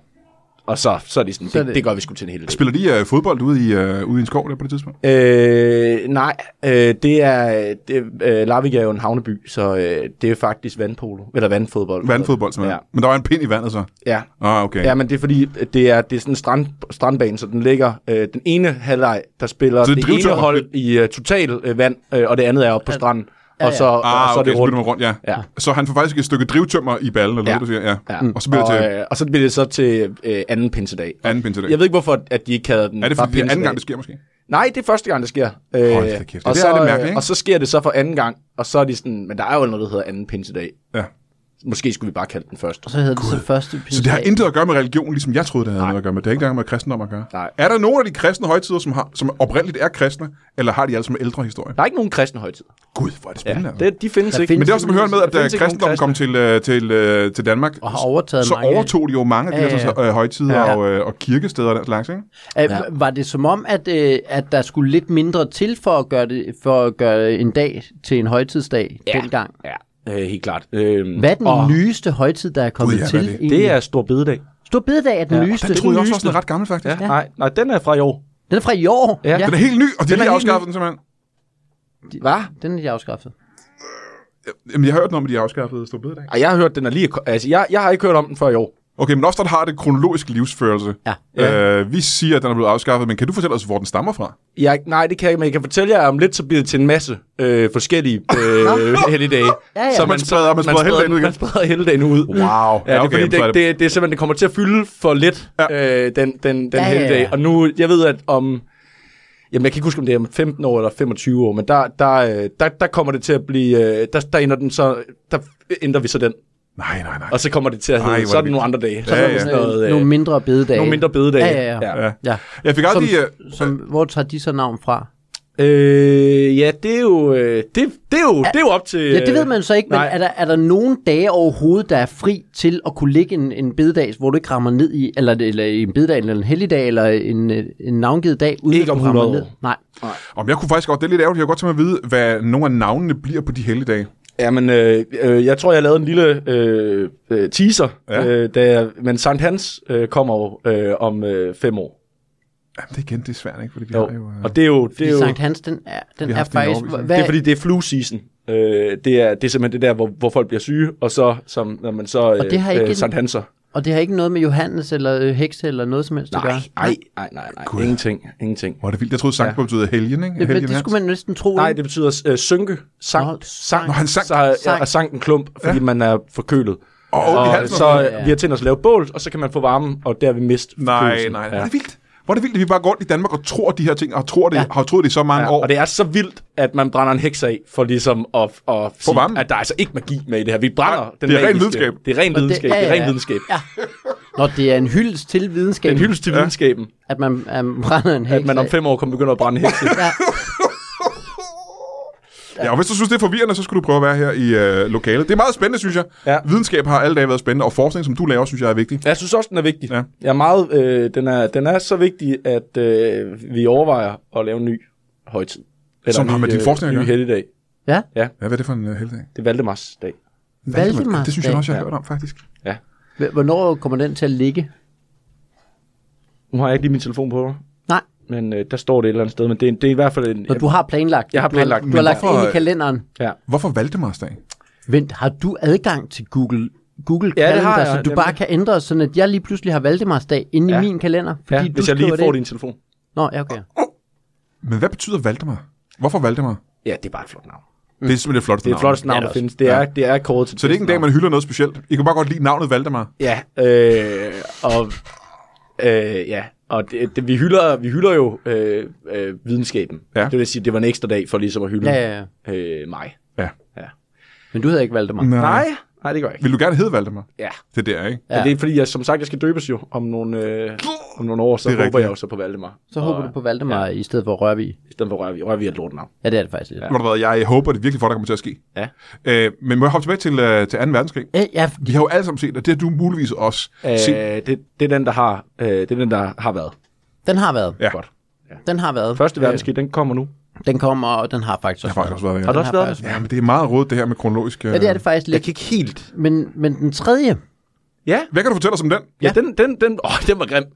Og så, så er de sådan, så det, det- det, det gør vi sgu til en hel del. Spiller de uh, fodbold ude i, uh, ude i en skov der på det tidspunkt? Øh, nej, øh, det er, det, øh, Larvik er jo en havneby, så øh, det er faktisk vandpolo, eller vandfodbold. Vandfodbold, simpelthen. Ja, Ja. Men der var en pind i vandet så. ja. Ah, okay. Ja, men det er fordi, det er, det er sådan en strand, strandbane, så den ligger øh, den ene halvleg, der spiller Så det er det, det ene drivtømmer. hold i øh, total øh, vand, øh, og det andet er oppe på stranden. Ja, ja. Og så, Ah, og okay, så er det så bytter rundt. man rundt, ja. Ja. Så han får faktisk et stykke drivtømmer i ballen, eller Ja. ja. hvad du siger, ja. Ja. Og så bliver det til og, øh, og så bliver det så til øh, anden pinsedag. anden pind til dag. Jeg ved ikke, hvorfor at de ikke kalder den Er det bare fordi, det er anden pinsedag. gang, det sker måske? Nej, det er første gang, det sker. Øh, Hold da kæft, og, det så, er lidt øh, mærkeligt, ikke? og så sker det så for anden gang, og så er de sådan, men der er jo noget, der hedder anden pinsedag. Ja. Måske skulle vi bare kalde den først. Og så hedder det så første pinsedag. Så det har intet at gøre med religion, ligesom jeg troede, det havde noget at gøre med. Det har ikke engang med kristendom at gøre. Nej. Er der nogen af de kristne højtider, som, har, som oprindeligt er kristne, eller har de alle som ældre historie? Der er ikke nogen kristne højtid. Gud, hvor er det Ja, spændende. altså. det, de findes Der ikke. findes- Men det er også, som hører med, at da Der findes ikke nogen kristendommen kom til, øh, til, øh, til Danmark, Og har overtaget så mange. overtog de jo mange af de Ja, her ja. så, øh, højtider Ja. og, øh, og kirkesteder og den slags, ikke? At, Ja. Var det som om, at, øh, at der skulle lidt mindre til for at gøre, det, for at gøre en dag til en højtidsdag ja. dengang? Ja, øh, helt klart. Øh, Hvad er den og... nyeste højtid, der er kommet Gud, ja, til? hvad er det? egentlig? Det er Stor Bededag. Stor bededag er den ja. nyeste. Den troede jeg også var sådan ret gammel, faktisk. Ja. Nej, nej, den er fra i år. Den er fra i år. Ja. Den er helt ny, og de Den er har helt afskaffet den simpelthen. Hvad? Den er de afskaffet. Jamen, jeg har hørt noget om, at de har afskaffet Stor Bededag. Ej, jeg har hørt, den er lige... Altså, jeg, jeg har ikke hørt om den før i år. Okay, men også den har det kronologisk livsførelse. Ja. Øh, vi siger, at den er blevet afskaffet, men kan du fortælle os, hvor den stammer fra? Jeg, nej, det kan jeg ikke, men jeg kan fortælle jer om lidt, så bliver det til en masse øh, <laughs> forskellige øh, helligdage. Ja, ja. Så Man spreder- man spreder helligdagen ud igen. Man spreder helligdagen ud. Wow. Wow. Ja, det, er fordi, jamen, så er det, det, det er simpelthen, det kommer til at fylde for lidt, ja. øh, den, den, den ja, ja, ja. helligdag. Og nu, jeg ved, at om... Jamen, jeg kan ikke huske, om det er om 15 år eller 25 år, men der, der, øh, der, der kommer det til at blive... øh, Der, der, ændrer den så, der ændrer vi så den. Nej, nej, nej. Og så kommer det til at Ej, hvor hedde, er så er det det nogle andre dage. Så Ja, ja, ja. ja. Sådan noget, øh, Nogle nogle, mindre bededage. mindre bededage. Ja, ja, ja. Ja. ja. Jeg fik aldrig... øh, Som, som, hvor tager de så navn fra? Øh, ja, det er jo, øh, det, det er jo, det er jo op til... Ja, det ved man så ikke, men Øh, nej. er der, er der nogen dage overhovedet, der er fri til at kunne ligge en, en bededag, hvor du ikke rammer ned i, eller, eller i en bededag, eller en helligdag, eller en, øh, en navngivet dag, uden Ikke at du om rammer 100 ned? år. Nej. Om jeg kunne faktisk godt, det er lidt ærgerligt, jeg kunne godt tænke mig at vide, hvad nogle af navnene bliver på de helligdage. Ja, men øh, øh, jeg tror, jeg lavede en lille øh, øh, teaser, Ja. ja. øh, da jeg, men Sankt Hans øh, kommer jo øh, om øh, fem år. Jamen, det er igen, det er svært, ikke? Fordi vi Jo. har jo... øh, Og det er jo... Det Det er jo Sankt Hans, den er, den Vi har er haft den i faktisk... årevis, ikke? Hvad, det er, fordi det er flu season. Øh, det, er, det er simpelthen det der, hvor, hvor folk bliver syge, og så, som, når man så det har ikke en- Sankt Hanser. Og det har ikke noget med Johannes eller øh, hekse eller noget som helst at Nej, gøre. nej, nej, nej, nej. Gud. Ingenting, ingenting. Hvor er det vildt. Jeg troede, sankt ja. betyder helgen, ikke? Det, men Helgen det skulle man næsten tro. Nej, ikke? det betyder øh, synke, sank, Nå, Nå, sank. sank. Nå, han sank. Så er, Sank. er sank en klump, fordi ja. man er forkølet. Åh, ondt i og halsen. så Ja. øh, vi har tænkt os at lave bål, og så kan man få varmen, og der vil miste Nej, forkølelsen. nej, nej. Ja. Ja. Det er vildt. Hvor er det vildt, at vi bare går rundt i Danmark og tror de her ting, og tror det, ja. har troet det i så mange ja. Ja, år. og det er så vildt, at man brænder en heks af, for ligesom at, at sige, varmen. at der er altså ikke magi med i det her. Vi brænder Nej, den det er ren magiske- videnskab. Det er ren Og det- videnskab. ja, Det, ja, er ren ja. videnskab. Ja. Når det er en hyldest til Det er videnskaben, en hyldest til videnskaben, at man um, brænder en heks at man om af. fem år kommer begynde at brænde hekse. Ja. Ja, og hvis du synes, det er forvirrende, så skulle du prøve at være her i øh, lokalet. Det er meget spændende, synes jeg. Ja. Ja. Videnskab har alle dage været spændende, og forskning, som du laver, synes jeg er vigtig. <laughs> Jeg synes også, den er vigtig. Ja. Ja. Jeg er meget, øh, den, er, den er så vigtig, at øh, vi overvejer at lave en ny højtid. Eller Som en har ny, med din øh, forskning at ny gøre. helligdag. ja. Ja, hvad er det for en uh, heldag? Det er Valdemars dag. Valdemars Det synes jeg dag. også, jeg har Ja. hørt om, faktisk. Ja. H- Hvornår kommer den til at ligge? Nu har jeg ikke lige min telefon på mig, Nej, men øh, der står det et eller andet sted. Men det er, det er i hvert fald en... når du har planlagt. Jeg har Du planlagt, Du har, men lagt det hvorfor- ind i kalenderen. Ja. Hvorfor Valdemarsdag? Vent, har du adgang til Google? Google Ja, det kalender, har jeg, så du nemlig. bare kan ændre, sådan at jeg lige pludselig har Valdemarsdag inde Ja. i min kalender, fordi ja du hvis jeg skriver lige får det. din telefon. Nå, ja, okay. Men hvad betyder Valdemar? Hvorfor Valdemar? Mm. Ja, det er bare et flot navn. Det er simpelthen det flotteste Det er et flotteste navn, Ja, det er der findes. Det er, det er kåret til Så det er ikke en dag, man hylder noget specielt. I kan bare godt lide navnet Valdemar. Ja, øh, og, øh, ja, og det, det, vi, hylder, vi hylder jo øh, øh, videnskaben. Ja. Det vil sige, det var en ekstra dag for ligesom at hylde Ja, ja, ja. Øh, mig. Ja. Men du hedder ikke Valdemar. Nej, nej, det gør jeg ikke. Vil du gerne hedde Valdemar? Ja. Det der, ikke? Ja. ja. Det er fordi, jeg, som sagt, jeg skal døbes jo om nogle, øh, om nogle år, så Det er håber rigtigt. jeg jo så på Valdemar. Så håber du på Valdemar i stedet for Rørvig. I stedet for Rørvig. Rørvig er et lort navn. Ja, det er det faktisk lidt. Hvor der været, jeg håber det virkelig for, dig kommer til at ske. Ja. Øh, men må jeg hoppe tilbage til, øh, til 2. verdenskrig? Ja, ja fordi- Vi har jo alle sammen set, og det har du muligvis også øh, set. Øh, det, det, er den, der har, øh, det er den, der har været. den har været. Ja. Godt. Den har været. Øh, Første verdenskrig, den kommer nu. Den kommer, og den har faktisk Jeg har også faktisk også været der. Har du Den har også været faktisk det? Ja, men det er meget rådet, det her med kronologisk... Øh... Ja, det er det faktisk Jeg lidt. kan ikke helt... Men, men den tredje, Ja, Hvad kan du fortælle os om den? ja, den, den, den, åh, den var grim. Øh,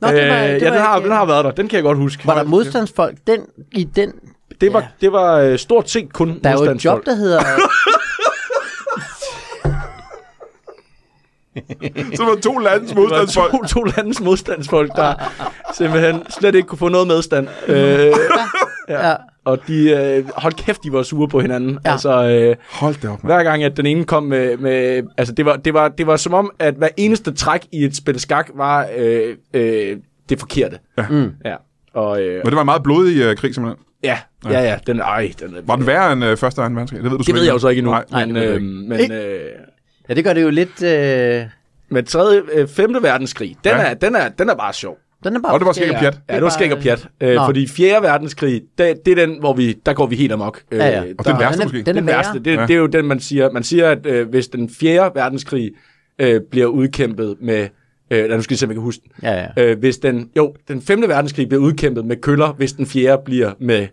Nå, det var- det ja, var den, har, ikke- den har været der. Den kan jeg godt huske. var der modstandsfolk den, i den, Det var, det var øh, stort set kun der er jo et job, modstandsfolk. der hedder, Så var to landes Det var modstandsfolk. to, to landes modstandsfolk, der <laughs> simpelthen slet ikke kunne få noget medstand. Øh, ja, og de, øh, hold kæft, de var sure på hinanden. Ja. Ja. Altså, øh, Hold da op, mand. hver gang, at den ene kom med... med altså, det var, det, var, det var som om, at hver eneste træk i et spil skak var øh, øh, det forkerte. Ja. Mm. ja. Og, øh, Men det var en meget blodig øh, krig, simpelthen. ja, ja, ja, den, ej, den, Var den værre end øh, første og anden verdenskrig? Det ved du det ved jeg jo så ikke endnu. Nej, nej, men, det ved du øh, ikke. men, øh, ja, det gør det jo lidt, øh, men tredje, øh, femte verdenskrig, den, Ja. ja. er, den, er, den er bare sjov. den er bare Og det var skæg og forskellig. pjat. Ja, det var skæg og pjat. Øh, Nå. fordi 4. verdenskrig, det, det er den, hvor vi, der går vi helt amok. Øh, Ja, ja. Og den der- værste den er- måske. den- den værre. værste. Det, Ja. ja. det er jo den, man siger. Man siger, at øh, hvis den 4. verdenskrig øh, bliver udkæmpet med... Øh, nej, nu skal jeg se, om jeg kan huske den. Ja, ja. Øh, hvis den, jo, den 5. verdenskrig bliver udkæmpet med køller, hvis den 4. bliver med...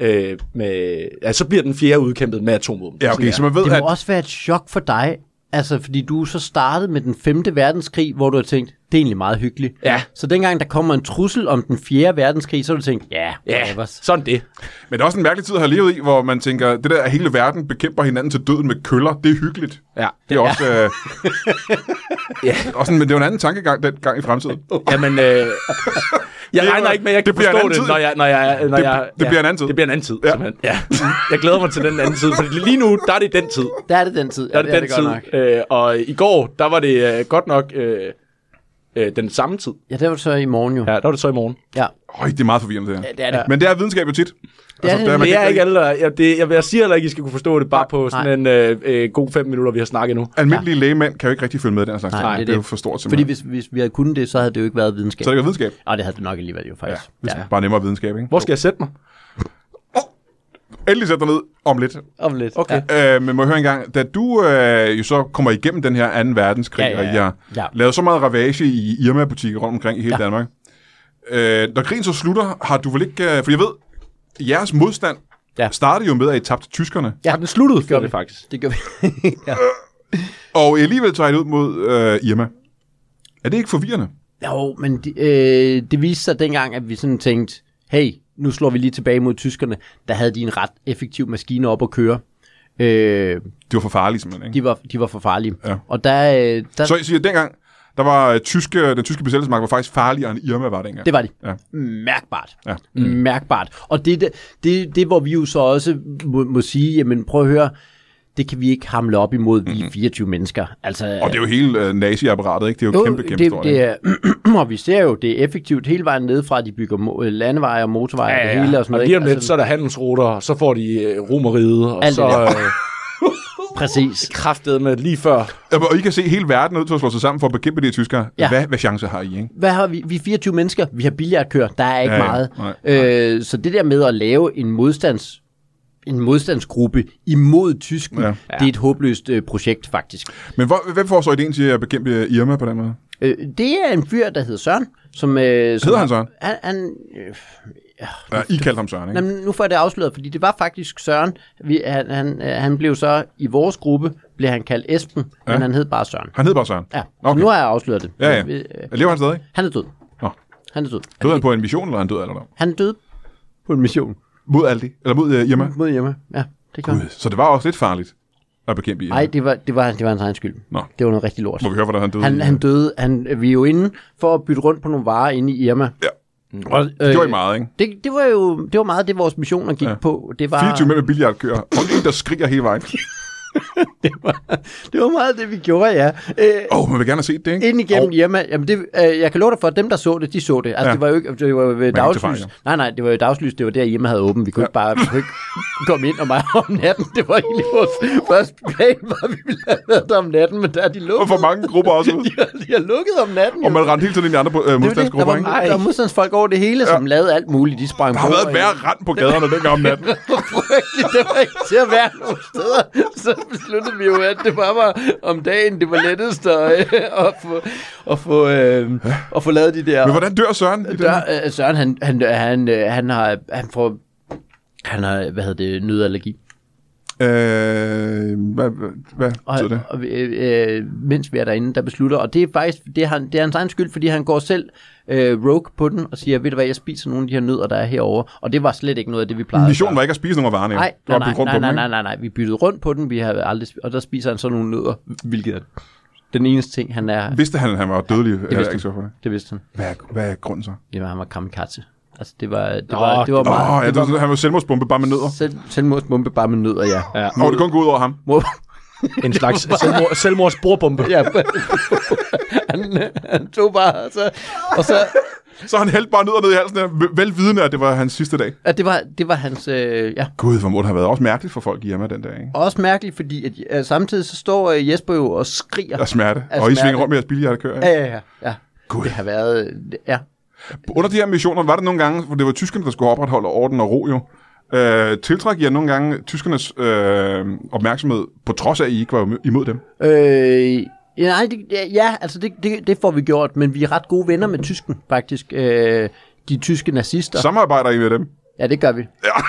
Øh, med ja, så bliver den 4. udkæmpet med atomvåben. Ja, okay, så man ved, Det at... må også være et chok for dig, altså fordi du så startede med den 5. verdenskrig, hvor du har tænkt, det er egentlig meget hyggeligt. Ja. Så dengang der kommer en trussel om den 4. verdenskrig, så har du tænkt, ja, Ja, whatever. sådan det. Men det er også en mærkelig tid at have levet i, hvor man tænker, det der, at hele verden bekæmper hinanden til døden med køller, det er hyggeligt. Ja. Det er også... Øh... ja. Også en, men det er jo en anden tankegang dengang i fremtiden. Jamen, <laughs> øh, jeg Det regner var- ikke med, at jeg det kan bliver en forstå anden det, tid. når jeg... Når jeg, når Det- jeg det bliver en anden tid. Det bliver en anden tid, Ja. ja. simpelthen. Ja. Jeg glæder mig til den anden tid, for lige nu, der er det den tid. Der er det den tid. Der er det, den godt nok. tid. Øh, og i går, der var det øh, godt nok øh, øh, den samme tid. Ja, det var så i morgen jo. Ja, der var det så i morgen. Ja. Øj, det er meget forvirrende, det her. det er det. Men det er videnskab jo tit. Det det er der, man Det kan er ikke alle, der- jeg, det, jeg, jeg siger heller ikke, I skal kunne forstå det bare på nej. sådan en øh, øh, god fem minutter, vi har snakket nu. Almindelige lægemænd kan jo ikke rigtig følge med i den her slags. Nej, det er det er jo det. for stort Fordi simpelthen. hvis, hvis vi havde kunnet det, så havde det jo ikke været videnskab. Så er det ikke videnskab. Og det havde det nok alligevel jo faktisk. Ja. ja. Bare nemmere videnskab, ikke? Hvor skal jeg sætte mig? Endelig sæt dig ned om lidt. Om lidt. Okay. Ja. Øh, men må jeg høre engang, da du øh, jo så kommer igennem den her 2. verdenskrig, Ja, ja, ja. og jeg Ja. lavede så meget ravage i Irma-butikker rundt omkring i hele ja. Danmark. Øh, når krigen så slutter, har du vel ikke... Øh, for jeg ved, jeres modstand ja. Ja. startede jo med, at I tabte tyskerne. Ja. Har den sluttet? Det gør gør vi. det faktisk. Det gør vi. <laughs> ja. Og alligevel tager I det ud mod øh, Irma. Er det ikke forvirrende? Jo, men de, øh, det viste sig dengang, at vi sådan tænkte, hey, nu slår vi lige tilbage mod tyskerne. Der havde de en ret effektiv maskine op at køre. Øh, Det var for farligt, simpelthen. Ikke? de, var, de var for farlige. Ja. Og der, øh, der Så I siger, at dengang, Der var øh, tyske, den tyske besættelsesmagt var faktisk farligere end Irma var dengang. Det var de. Ja. Mærkbart. Ja. Mm. Mærkbart. Og det, er det, det, det, hvor vi jo så også må, må sige, jamen prøv at høre, det kan vi ikke hamle op imod, vi er 24 mennesker. Altså, Og det er jo hele øh, nazi-apparatet, ikke? Det er jo, kæmpe, kæmpe det, stort. det er, <clears throat> og vi ser jo, det er effektivt hele vejen ned fra, at de bygger mo- øh, landeveje og motorveje ja, ja, ja. og det hele og sådan noget. og lige om ikke? altså- lidt, så er der handelsruter, og så får de øh, romeriet, og Alt så det der. øh, <laughs> præcis. kraftet med lige før. Ja, Og I kan se, hele verden er nødt til at slå sig sammen for at bekæmpe de her tyskere. Ja. Ja. Hvad, hvad chancer har I, ikke? Hvad har vi? Vi er 24 mennesker. Vi har billiardkør. Der er ikke Ja, ja. meget. Nej, Øh, så det der med at lave en modstands en modstandsgruppe imod tysken, Ja. ja. det er et håbløst øh, projekt faktisk. Men hvor, hvem får så ideen til at bekæmpe Irma på den måde? Øh, det er en fyr, der hedder Søren, som... Øh, som Hedder han Søren? Han, han, øh, Ja, I kaldte ham Søren, ikke? Jamen, nu får jeg det afsløret, fordi det var faktisk Søren. Vi, han, han, øh, han blev så, i vores gruppe, blev han kaldt Esben, ja. men han hed bare Søren. Han hed bare Søren. Ja, Okay. okay. nu har jeg afsløret det. Ja, ja. Vi- øh, Lever han stadig? Han er død. Nå. Han er død. Døde han på en mission, eller er han død eller noget? Han er død på en mission. Mod Aldi? Eller mod uh, Irma? Mod hjemme. Ja, det gør han. Gud, Så det var også lidt farligt at bekæmpe Irma. Nej, det var, det, var, det var hans egen skyld. Nå. Det var noget rigtig lort. Må vi høre, hvordan han døde? Han, i- han døde. Han, vi er jo inde for at bytte rundt på nogle varer inde i Irma. Ja. Og, øh, Det gjorde I meget, ikke? Det, det var jo det var meget det, vores missioner gik ja. på. Det var, 24 mænd med billiardkører, og en, der skriger hele vejen. <laughs> det var meget det, vi gjorde, ja. Øh, Åh, oh, man vil gerne have set det, ikke? ind igennem Og- oh. Irma. Jamen det, øh, jeg kan love dig for, at dem, der så det, de så det. Altså, Ja. ja. det var jo ikke det var jo ved fejl, dagslys. Nej, nej, det var jo dagslys. Det var der, Irma havde åben. Vi kunne ja. ikke bare vi kunne ikke komme ind og meget om natten. Det var egentlig vores første plan, var, at vi ville have været der om natten, men der er de og lukket. for mange grupper også. <laughs> de, har, de har lukket om natten. Og jo. man rendte hele tiden ind i andre øh, Det er jo det. Der modstandsgrupper, var, ikke? der var modstandsfolk over det hele, som lavede alt muligt. De sprang øh, Der har været et værre rand på gaderne dengang om natten. Det var frygteligt. Det var ikke til at være nogen steder. Så besluttede vi jo, at det bare var om dagen, det var lettest at, øh, at, få, at, få, øh, at få lavet de der... Men hvordan dør Søren? I den? Der, øh, Søren, han, han, han, øh, han, har, han får... Han har, hvad hedder det, nødallergi. Øh, hvad, hvad, hvad Og, betyder det? og øh, øh, mens vi er derinde, der beslutter, og det er faktisk det er, han, det er hans egen skyld, fordi han går selv øh, rogue på den og siger, ved du hvad, jeg spiser nogle af de her nødder, der er herovre. Og det var slet ikke noget af det, vi plejede. at Missionen gøre. var ikke at spise nogen af varerne. jo. Nej, Det var nej, at bygge rundt nej, på nej, dem, nej, ikke? nej, nej, nej, vi byttede rundt på den, vi har aldrig, sp- og der spiser han så nogle nødder, hvilket er den eneste ting, han er, Vidste han, at han var dødelig? Det vidste vidste ikke så for det. det vidste han, Hvad er, hvad er grunden så? det var, han var kamikaze. Altså, det var, det var, det var Åh, oh, meget, ja, det var sådan, han var selvmordsbombe bare med nødder. selv, selvmordsbombe bare med nødder, ja. Ja. Og det kun gå ud over ham. Mor- En slags <laughs> selvmord, selvmordsbordbombe. ja. <laughs> han, han tog bare, og så, og så Så han hældte bare nødder ned i halsen, af, velvidende, at det var hans sidste dag. at det, var, det var hans, øh, ja, Gud, hvor må det have været også mærkeligt for folk hjemme den dag, ikke? også mærkeligt, fordi at, øh, samtidig så står øh, Jesper jo og skriger. Og smerte. Af Og I smerte. svinger rundt med jeres billiardkører. Ja, ikke? ja, ja. ja. Gud. Det har været, øh, det- ja, Under de her missioner var det nogle gange, hvor det var tyskerne, der skulle opretholde orden og ro jo. Øh, tiltræk jer nogle gange tyskernes øh, opmærksomhed, på trods af, at I ikke var imod dem. Øh, ja, nej, det, ja, ja, altså det, det, det får vi gjort, men vi er ret gode venner med tysken, faktisk. Øh, de tyske nazister. Så... Samarbejder I med dem? Ja, det gør vi. Ja.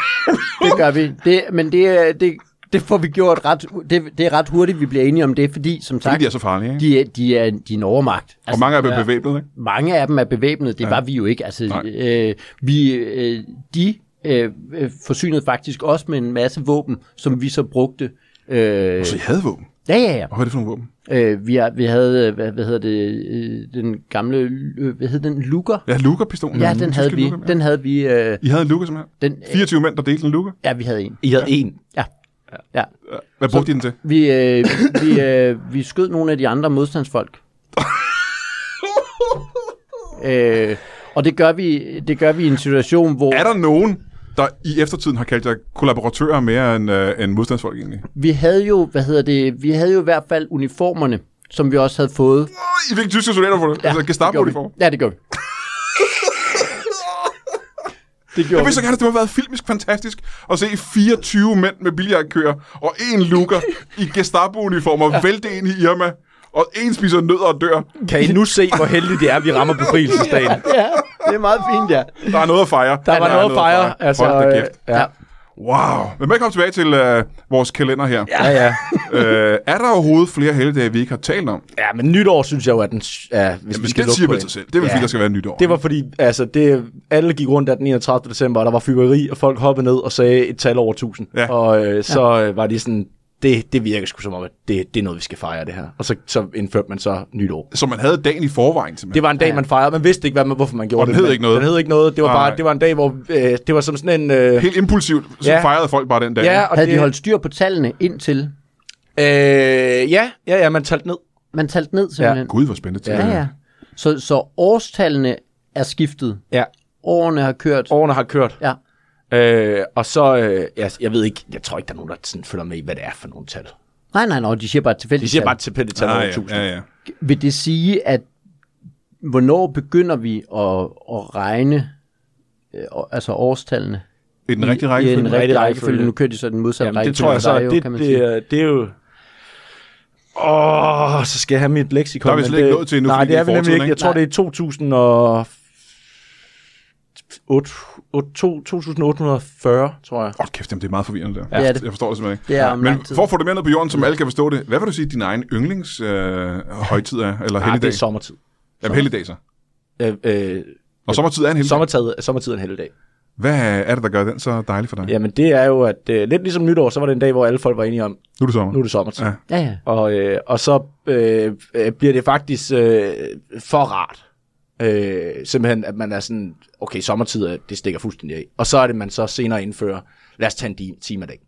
det gør vi. Det, men det, er- det, det får vi gjort ret, det, det er ret hurtigt, vi bliver enige om det, fordi <laughs> som Fordi sagt, de er så farlige, ikke? de er, de er, de er en overmagt. Altså, Og mange af dem er bevæbnet, ikke? mange af dem er bevæbnet, det ja. var vi jo ikke. Altså, Nej. øh, vi, øh, de øh, øh, forsynede faktisk også med en masse våben, som vi så brugte. Øh, Så I havde våben. ja, ja, ja. Og hvad er det for nogle våben? Øh, vi, har, vi havde, øh, hvad, hvad hedder det, øh, den gamle, øh, hvad hed den, Luger? Ja, Luger-pistolen. Ja, den Tyske havde vi, Luger, ja. den havde vi, øh, I havde en Luger, simpelthen? den, øh, 24 mænd, der delte en Luger? ja, vi havde en, I havde en. ja, ja. Hvad brugte I den til? Vi, øh, vi, øh, vi skød nogle af de andre <laughs> modstandsfolk. øh, og det gør, vi, det gør vi i en situation, hvor Er der nogen, der i eftertiden har kaldt jer kollaboratører mere end, øh, end modstandsfolk egentlig? vi havde jo, hvad hedder det, vi havde jo i hvert fald uniformerne, som vi også havde fået. Åh, I fik tyske soldater for det. Ja, altså det gjorde vi. Gestapo-uniform. Ja, <laughs> det gør vi. det gjorde Jeg vil så gerne, at det må have været filmisk fantastisk at se 24 mænd med billiardkøer og en lukker i Gestapo-uniformer ja. vælte ind i Irma, og en spiser nødder og dør. Kan I nu se, hvor heldigt det er, at vi rammer befrielsesdagen? Ja, det er meget fint, ja. Der er noget at fejre. Der var er noget at fejre. Altså, Hold da øh, kæft. ja. Wow. Men velkommen tilbage til øh, vores kalender her. ja, ja. øh, er der overhovedet flere helgedage, vi ikke har talt om? Ja, men nytår synes jeg jo, at den... s- Ja, hvis vi Jamen, skal det lukke siger på vel en. sig selv. Det er vel, fordi Ja. der skal være nytår. Det var fordi, altså, det, alle gik rundt af den 31. december, og der var fyrværkeri, og folk hoppede ned og sagde et tal over 1000. Ja. Og øh, så øh, var de sådan, det, det virker sgu som om, at det, det er noget, vi skal fejre det her. Og så, så indførte man så nytår. Så man havde dagen i forvejen, simpelthen. Det var en dag, man fejrede. Man vidste ikke, hvad man, hvorfor man gjorde Og den det. hed men ikke noget. Den hed ikke noget. Det var, Nej. bare, det var en dag, hvor øh, det var som sådan en... Øh, Helt impulsivt så Ja. fejrede folk bare den dag. ja, og Havde det, de holdt styr på tallene indtil Øh, ja, ja, ja, man talte ned. man talte ned simpelthen? Gud, hvor spændende til. Ja, ja. Så, så årstallene er skiftet. Ja. Årene har kørt. Årene har kørt. Ja. Øh, og så, øh, jeg, jeg ved ikke, jeg tror ikke, der er nogen, der sådan følger med i, hvad det er for nogle tal. Nej, nej, nej, de siger bare et tilfældigt De siger tal. bare tilfældigt tal Ah, over ja, tusind. ja, ja. Vil det sige, at hvornår begynder vi at, at regne øh, og- altså årstallene? I den rigtige I rækkefølge. en rigtig rækkefølge. rækkefølge. Nu kører de så den modsatte Jamen, det rækkefølge. tror jeg for så, dig at det, kan man det, sige. er- det er jo... Åh, oh, så skal jeg have mit leksikon. Der er vi men slet ikke det- nået til endnu, Nej, fordi det det er er vi nemlig fortiden, ikke. Jeg ikke? tror, Nej. det er 2000 og... 8, 8, 2840, tror jeg. Åh, oh, kæft, jamen, det er meget forvirrende der. Det er det. Jeg forstår det simpelthen ikke. Det er om Men lang tid. for at få det med ned på jorden, som alle kan forstå det, hvad vil du sige, din egen yndlings øh, højtid er? Eller Nej, Ah, det helligdag? er sommertid. Jamen, helligdag så. Øh, øh, Og sommertid er en helligdag. sommertid, sommertid er en helligdag. Hvad er det, der gør den så dejlig for dig? Jamen det er jo, at øh, lidt ligesom nytår, så var det en dag, hvor alle folk var enige om, Nu er det sommer. nu er det sommertid. Ja. Ja. Ja, ja. Og, øh, og så øh, øh, bliver det faktisk øh, for rart. Øh, simpelthen, at man er sådan, okay, sommertid, øh, det stikker fuldstændig af. Og så er det, man så senere indfører, lad os tage en di- time af dag.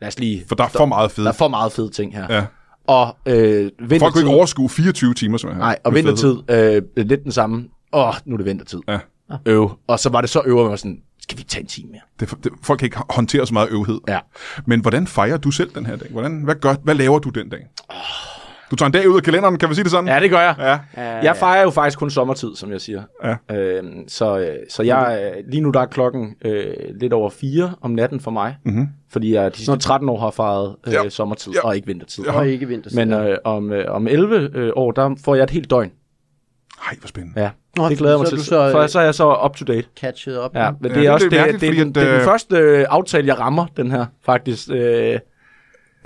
Lad os lige... For der er for meget fedt. Der er for meget fede ting her. Ja. Og øh, vintertid... Folk kunne ikke overskue 24 timer, som jeg Nej, og vintertid, øh, lidt den samme. Åh, nu er det vintertid. Ja. Øv. Og så var det så øver, man var sådan, skal vi ikke tage en time mere? Det, det, folk kan ikke håndtere så meget øvhed. Ja. Men hvordan fejrer du selv den her dag? Hvordan, hvad, gør, hvad laver du den dag? Du tager en dag ud af kalenderen, kan vi sige det sådan? Ja, det gør jeg. Ja. Jeg fejrer jo faktisk kun sommertid, som jeg siger. Ja. Øhm, så, øh, så jeg, øh, lige nu der er klokken øh, lidt over 4 om natten for mig, mm-hmm. fordi jeg de sidste 13 år har fejret øh, Ja. ja. sommertid Ja. ja. og ikke vintertid. Ja. Ja. Og ikke vinterstid. Men øh, om, øh, om 11 øh, år, der får jeg et helt døgn. Ej, hvor spændende. Ja. Nå, Nå, det glæder jeg mig så er til, du så, øh, så, for så er jeg så up to date. Catchet op. Ja, Ja. men det Ja, er det er også lidt det, mærkeligt, det, er fordi den- at, det er den øh, første øh, aftale, jeg rammer, den her faktisk. Øh,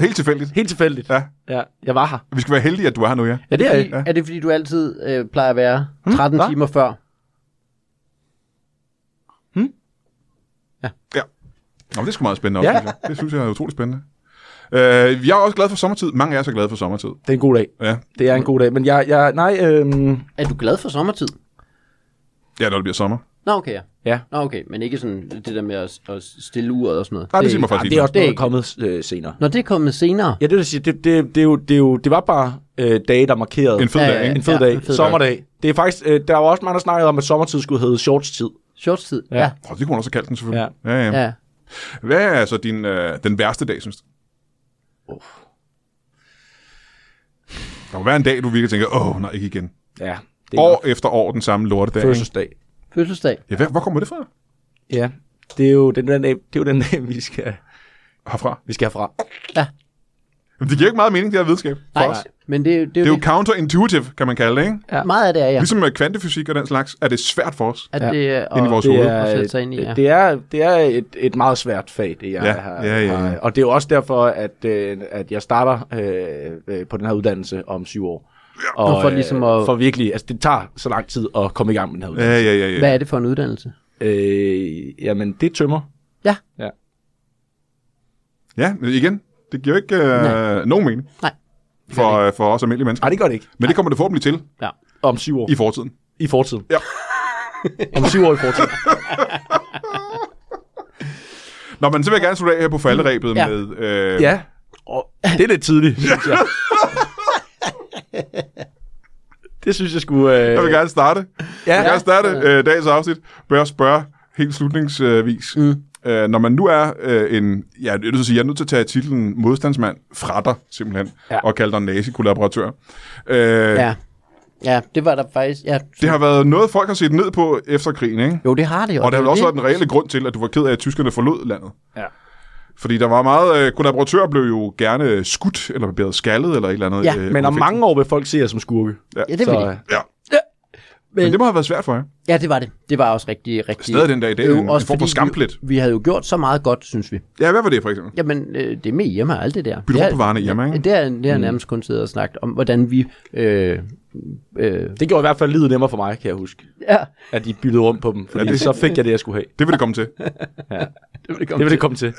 Helt tilfældigt. helt tilfældigt. Ja. ja. Jeg var her. Vi skal være heldige, at du er her nu, ja. Ja, det er jeg. Fordi, er det fordi, du altid øh, plejer at være 13 hva? timer før? Nå, men det er sgu meget spændende også, Ja. synes jeg. Det synes jeg er utrolig spændende. Øh, jeg er også glad for sommertid. Mange af jer er så glade for sommertid. Det er en god dag. Ja, Det er en god dag. Men jeg, jeg nej, øh, Er du glad for sommertid? ja når det bliver sommer. Nå, okay, ja. ja. Nå, okay, men ikke sådan det der med at, at stille uret og sådan noget. Nej, det siger mig faktisk Jamen, det er ikke. også noget, ikke- der er kommet øh, senere. Når det er kommet senere, Ja, det vil sige, det, det, det, er jo, det, er jo, det var bare øh, dage, der markerede En fed Ja, ja, dag, ja. ikke? en fed dag, en en fed dag. fed sommerdag. Det er faktisk, øh, der var også mange, der snakkede om, at sommertid skulle hedde shortstid. shortstid. Ja. Ja. ja. Prøv, det kunne man også kalde den, selvfølgelig. Ja. Ja, ja. ja. Hvad er altså din, øh, den værste dag, synes du? Der må være en dag, du virkelig tænker, åh, nej, ikke igen. Ja, det År efter år den samme lortedag. ikke? fødselsdag. Fødselsdag. Ja, hvad, hvor kommer det fra? Ja, det er jo den, den, dag, det er jo den dag, vi skal, Herfra? vi skal herfra. Jamen, det giver jo ikke meget mening, det her videnskab. For Nej, os. men det, er jo- det er Det jo er jo counterintuitive, kan man kalde det, ikke? det. Meget af det er, ja. Ligesom med kvantefysik og den slags, er det svært for os. At Ja. det er, Inde i vores det hoved. er, at sætte sig ind i, øh, ja. det er, det er et, et meget svært fag, det jeg Ja, har, ja, ja, har. ja. Og det er jo også derfor, at, øh, at jeg starter øh, øh, på den her uddannelse om syv år. Ja. Og for ligesom at- For virkelig, altså det tager så lang tid at komme i gang med den her uddannelse. Ja, ja, ja. ja. Hvad er det for en uddannelse? Øh, jamen, det tømmer. Ja, Ja, men igen, det giver jo ikke øh, nogen mening. Nej. For, øh, for os almindelige mennesker. Nej, det gør det ikke. Men det kommer det forhåbentlig til ja. Om syv år. i fortiden. I fortiden. Ja. <laughs> Om syv år i fortiden. Nå, men så vil jeg gerne slutte af her på falderæbet Ja. med... Øh, ja. Og det er lidt tidligt, synes jeg. det synes jeg skulle... Øh... Jeg vil gerne starte. Ja, Jeg vil gerne starte øh, dagens afsnit. Bør jeg spørge helt slutningsvis. Mm. Øh, når man nu er øh, en... Ja, jeg er, nødt til at sige, jeg er nødt til at tage titlen modstandsmand fra dig, simpelthen. Ja. Ja. Og kalde dig nazi-kollaboratør. Øh, ja. Ja, det var der faktisk. Ja. Det har været noget, folk har set ned på efter krigen, ikke? Jo, det har det jo. Og der har er vel jo også det. været den reelle grund til, at du var ked af, at tyskerne forlod landet. Ja. Fordi der var meget... Øh, kollaboratører blev jo gerne skudt, eller barberet skaldet, eller et eller andet. Ja, øh, Men under om mange år vil folk se jer som skurke. Ja, det var Så, øh, det. Ja. Men, Men- det må have været svært for jer. Ja, det var det. Det var også rigtig, rigtig... Stadig den dag i dag, Jo, en- en form for fordi skamplet. Vi, vi havde jo gjort så meget godt, synes vi. Ja, hvad var det for eksempel? Jamen, øh, det med hjemme og alt det der. Bytte Ja, rundt på varerne hjemme, ikke? Mm. Det er, det er nærmest kun siddet og snakket om, hvordan vi øh, Øh, Det gjorde i hvert fald livet nemmere for mig, kan jeg huske. ja, At de byttede rundt på dem. Fordi Ja, det- så fik jeg det, jeg skulle have. Det vil det komme til. det vil det komme Det vil til. det komme til.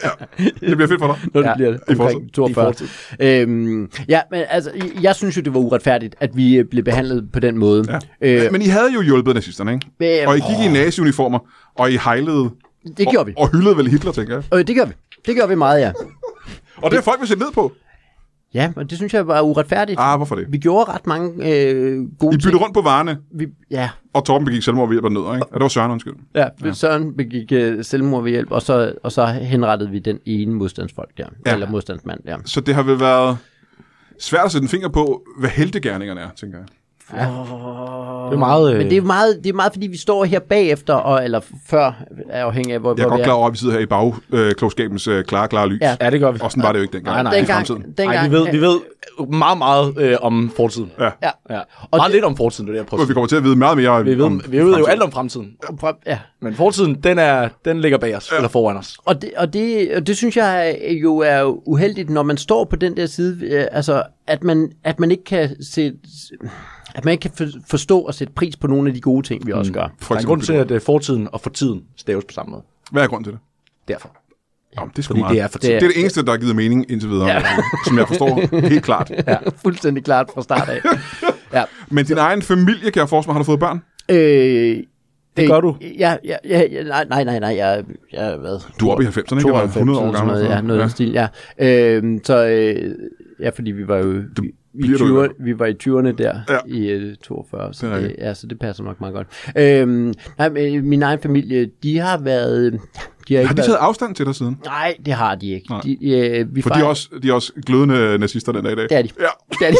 Det bliver fedt <laughs> for dig. når det Ja, ja, bliver i omkring fortid. 42. I Øhm, ja, men altså, jeg- jeg synes jo, det var uretfærdigt, at vi øh, blev behandlet på den måde. Ja. Øh, Men I havde jo hjulpet nazisterne, ikke? men, Og I gik i nazi-uniformer, og I hejlede det gjorde vi. og hyldede vel Hitler, tænker jeg. Øh, det gjorde vi. Det gjorde vi meget, ja. Og det har folk vil sætte ned på. Ja, og det synes jeg var uretfærdigt. Ah, hvorfor det? Vi gjorde ret mange øh, gode I ting. byttede rundt på varerne, Vi, ja, og Torben begik selvmord ved hjælp af nødder, ikke? Ja, det var Søren, undskyld. ja, ja. Søren begik øh, selvmord ved hjælp, og så, og så henrettede vi den ene modstandsfolk der. Ja. Ja. Eller modstandsmand der. Så det har vel været svært at sætte en finger på, hvad heltegerningerne er, tænker jeg. Det er meget... øh, Men det er meget, det er meget fordi vi står her bagefter, og, eller før, afhængig af, hvor, Jeg er hvor vi godt klar over, at vi sidder her i bagklogskabens øh, klare, klare lys. Ja. Ja. Ja, det gør vi. Og sådan var det jo ikke dengang. Nej, nej. Det er Dengang, fremtiden. dengang, Ej, vi ved, vi ved meget, meget øh, om fortiden. Ja. Ja. ja. Og Og det- meget det, lidt om fortiden, det er det, jeg prøver Og at Vi sige. kommer til at vide meget mere Vi om ved, vi ved jo fremtiden. alt om fremtiden. Ja, Men fortiden, den, er, den ligger bag os, ja. eller foran os. og det, og, det, og det synes jeg jo er uheldigt, når man står på den der side, øh, altså at man, at man ikke kan se, at man ikke kan for- forstå og sætte pris på nogle af de gode ting, vi også gør. For Der er en eksempel, grund til, at øh, fortiden og fortiden staves på samme måde. Hvad er grunden til det? Derfor. Jamen, det er sgu Fordi meget. det er fortiden. Det Det er det eneste, der har givet mening indtil videre, ja. <laughs> som jeg forstår helt klart. Ja, <laughs> fuldstændig klart fra start <laughs> af. ja. Men din egen familie, kan jeg forestille mig, har du fået børn? Øh, det gør du. Ja, ja, ja, ja nej, nej, nej, nej, jeg, jeg hvad? Du er oppe i 90'erne, ikke? Jeg var 100 år gammel. Noget, ja, noget ja. stil, ja. Øh, så, øh, ja, fordi vi var jo... Du, i bliver du 20'erne- vi var i 20'erne der Ja. ja. i øh, 42, så Det er det, rigtigt. ja, så det passer nok meget godt. Øhm, nej, men, øh, min egen familie, de har været... øh, De har, ikke Har de været, taget afstand til dig siden? Nej, det har de ikke. Nej. De, øh, vi For de er, også, de er også glødende nazister den dag i dag. Det er de. Ja. <laughs> Det er de.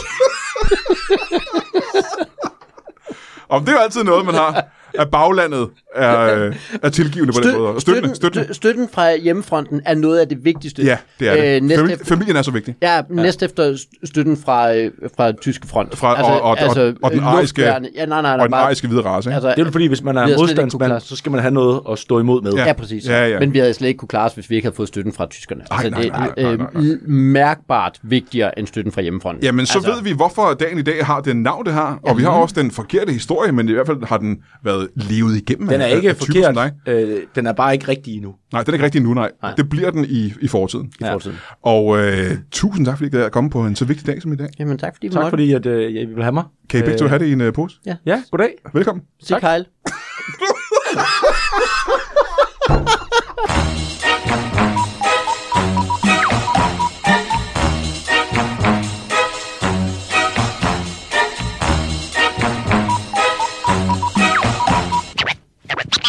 Og det er jo altid noget, man har, at baglandet er, øh, er tilgivende på den måde. Og støttende, støttende. stø- støtten fra hjemmefronten er noget af det vigtigste. Ja, det er det. Øh, næst Famili- efter, Familien er så vigtig. ja, næst efter st- støtten fra, øh, fra tyske front. Fra- og- og- og- og den øh, ariske- luftværnet. Ja, nej, nej, nej. Og den bare- ariske hvide race, ikke? Altså, Det er jo fordi, hvis man er Vi har slet ikke kunne modstandsmand, klare- så skal man have noget at stå imod med. Ja. Ja, præcis. Ja, ja. Men vi havde slet ikke kunne klare os, hvis vi ikke havde fået støtten fra tyskerne. Ej, nej, nej, det er nej, nej, nej. øh, mærkbart vigtigere end støtten fra hjemmefronten. Jamen, så altså... ved vi, hvorfor dagen i dag har det navn, det har. Og vi har også den forkerte historie, men i hvert fald har den været levet igennem. Den er af- ikke af typer som forkert. dig. Øh, den er bare ikke rigtig endnu. Nej, den er ikke rigtig nu, nej. nej. Det bliver den i, i fortiden. I fortiden. Og øh, tusind tak, fordi I gad at komme på en så vigtig dag som i dag. Jamen, tak fordi vi Tak måtte. fordi, at øh, I vil have mig. Kan I begge to have det i en øh, pose? Ja, goddag. Velkommen. Sig Kyle.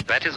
That is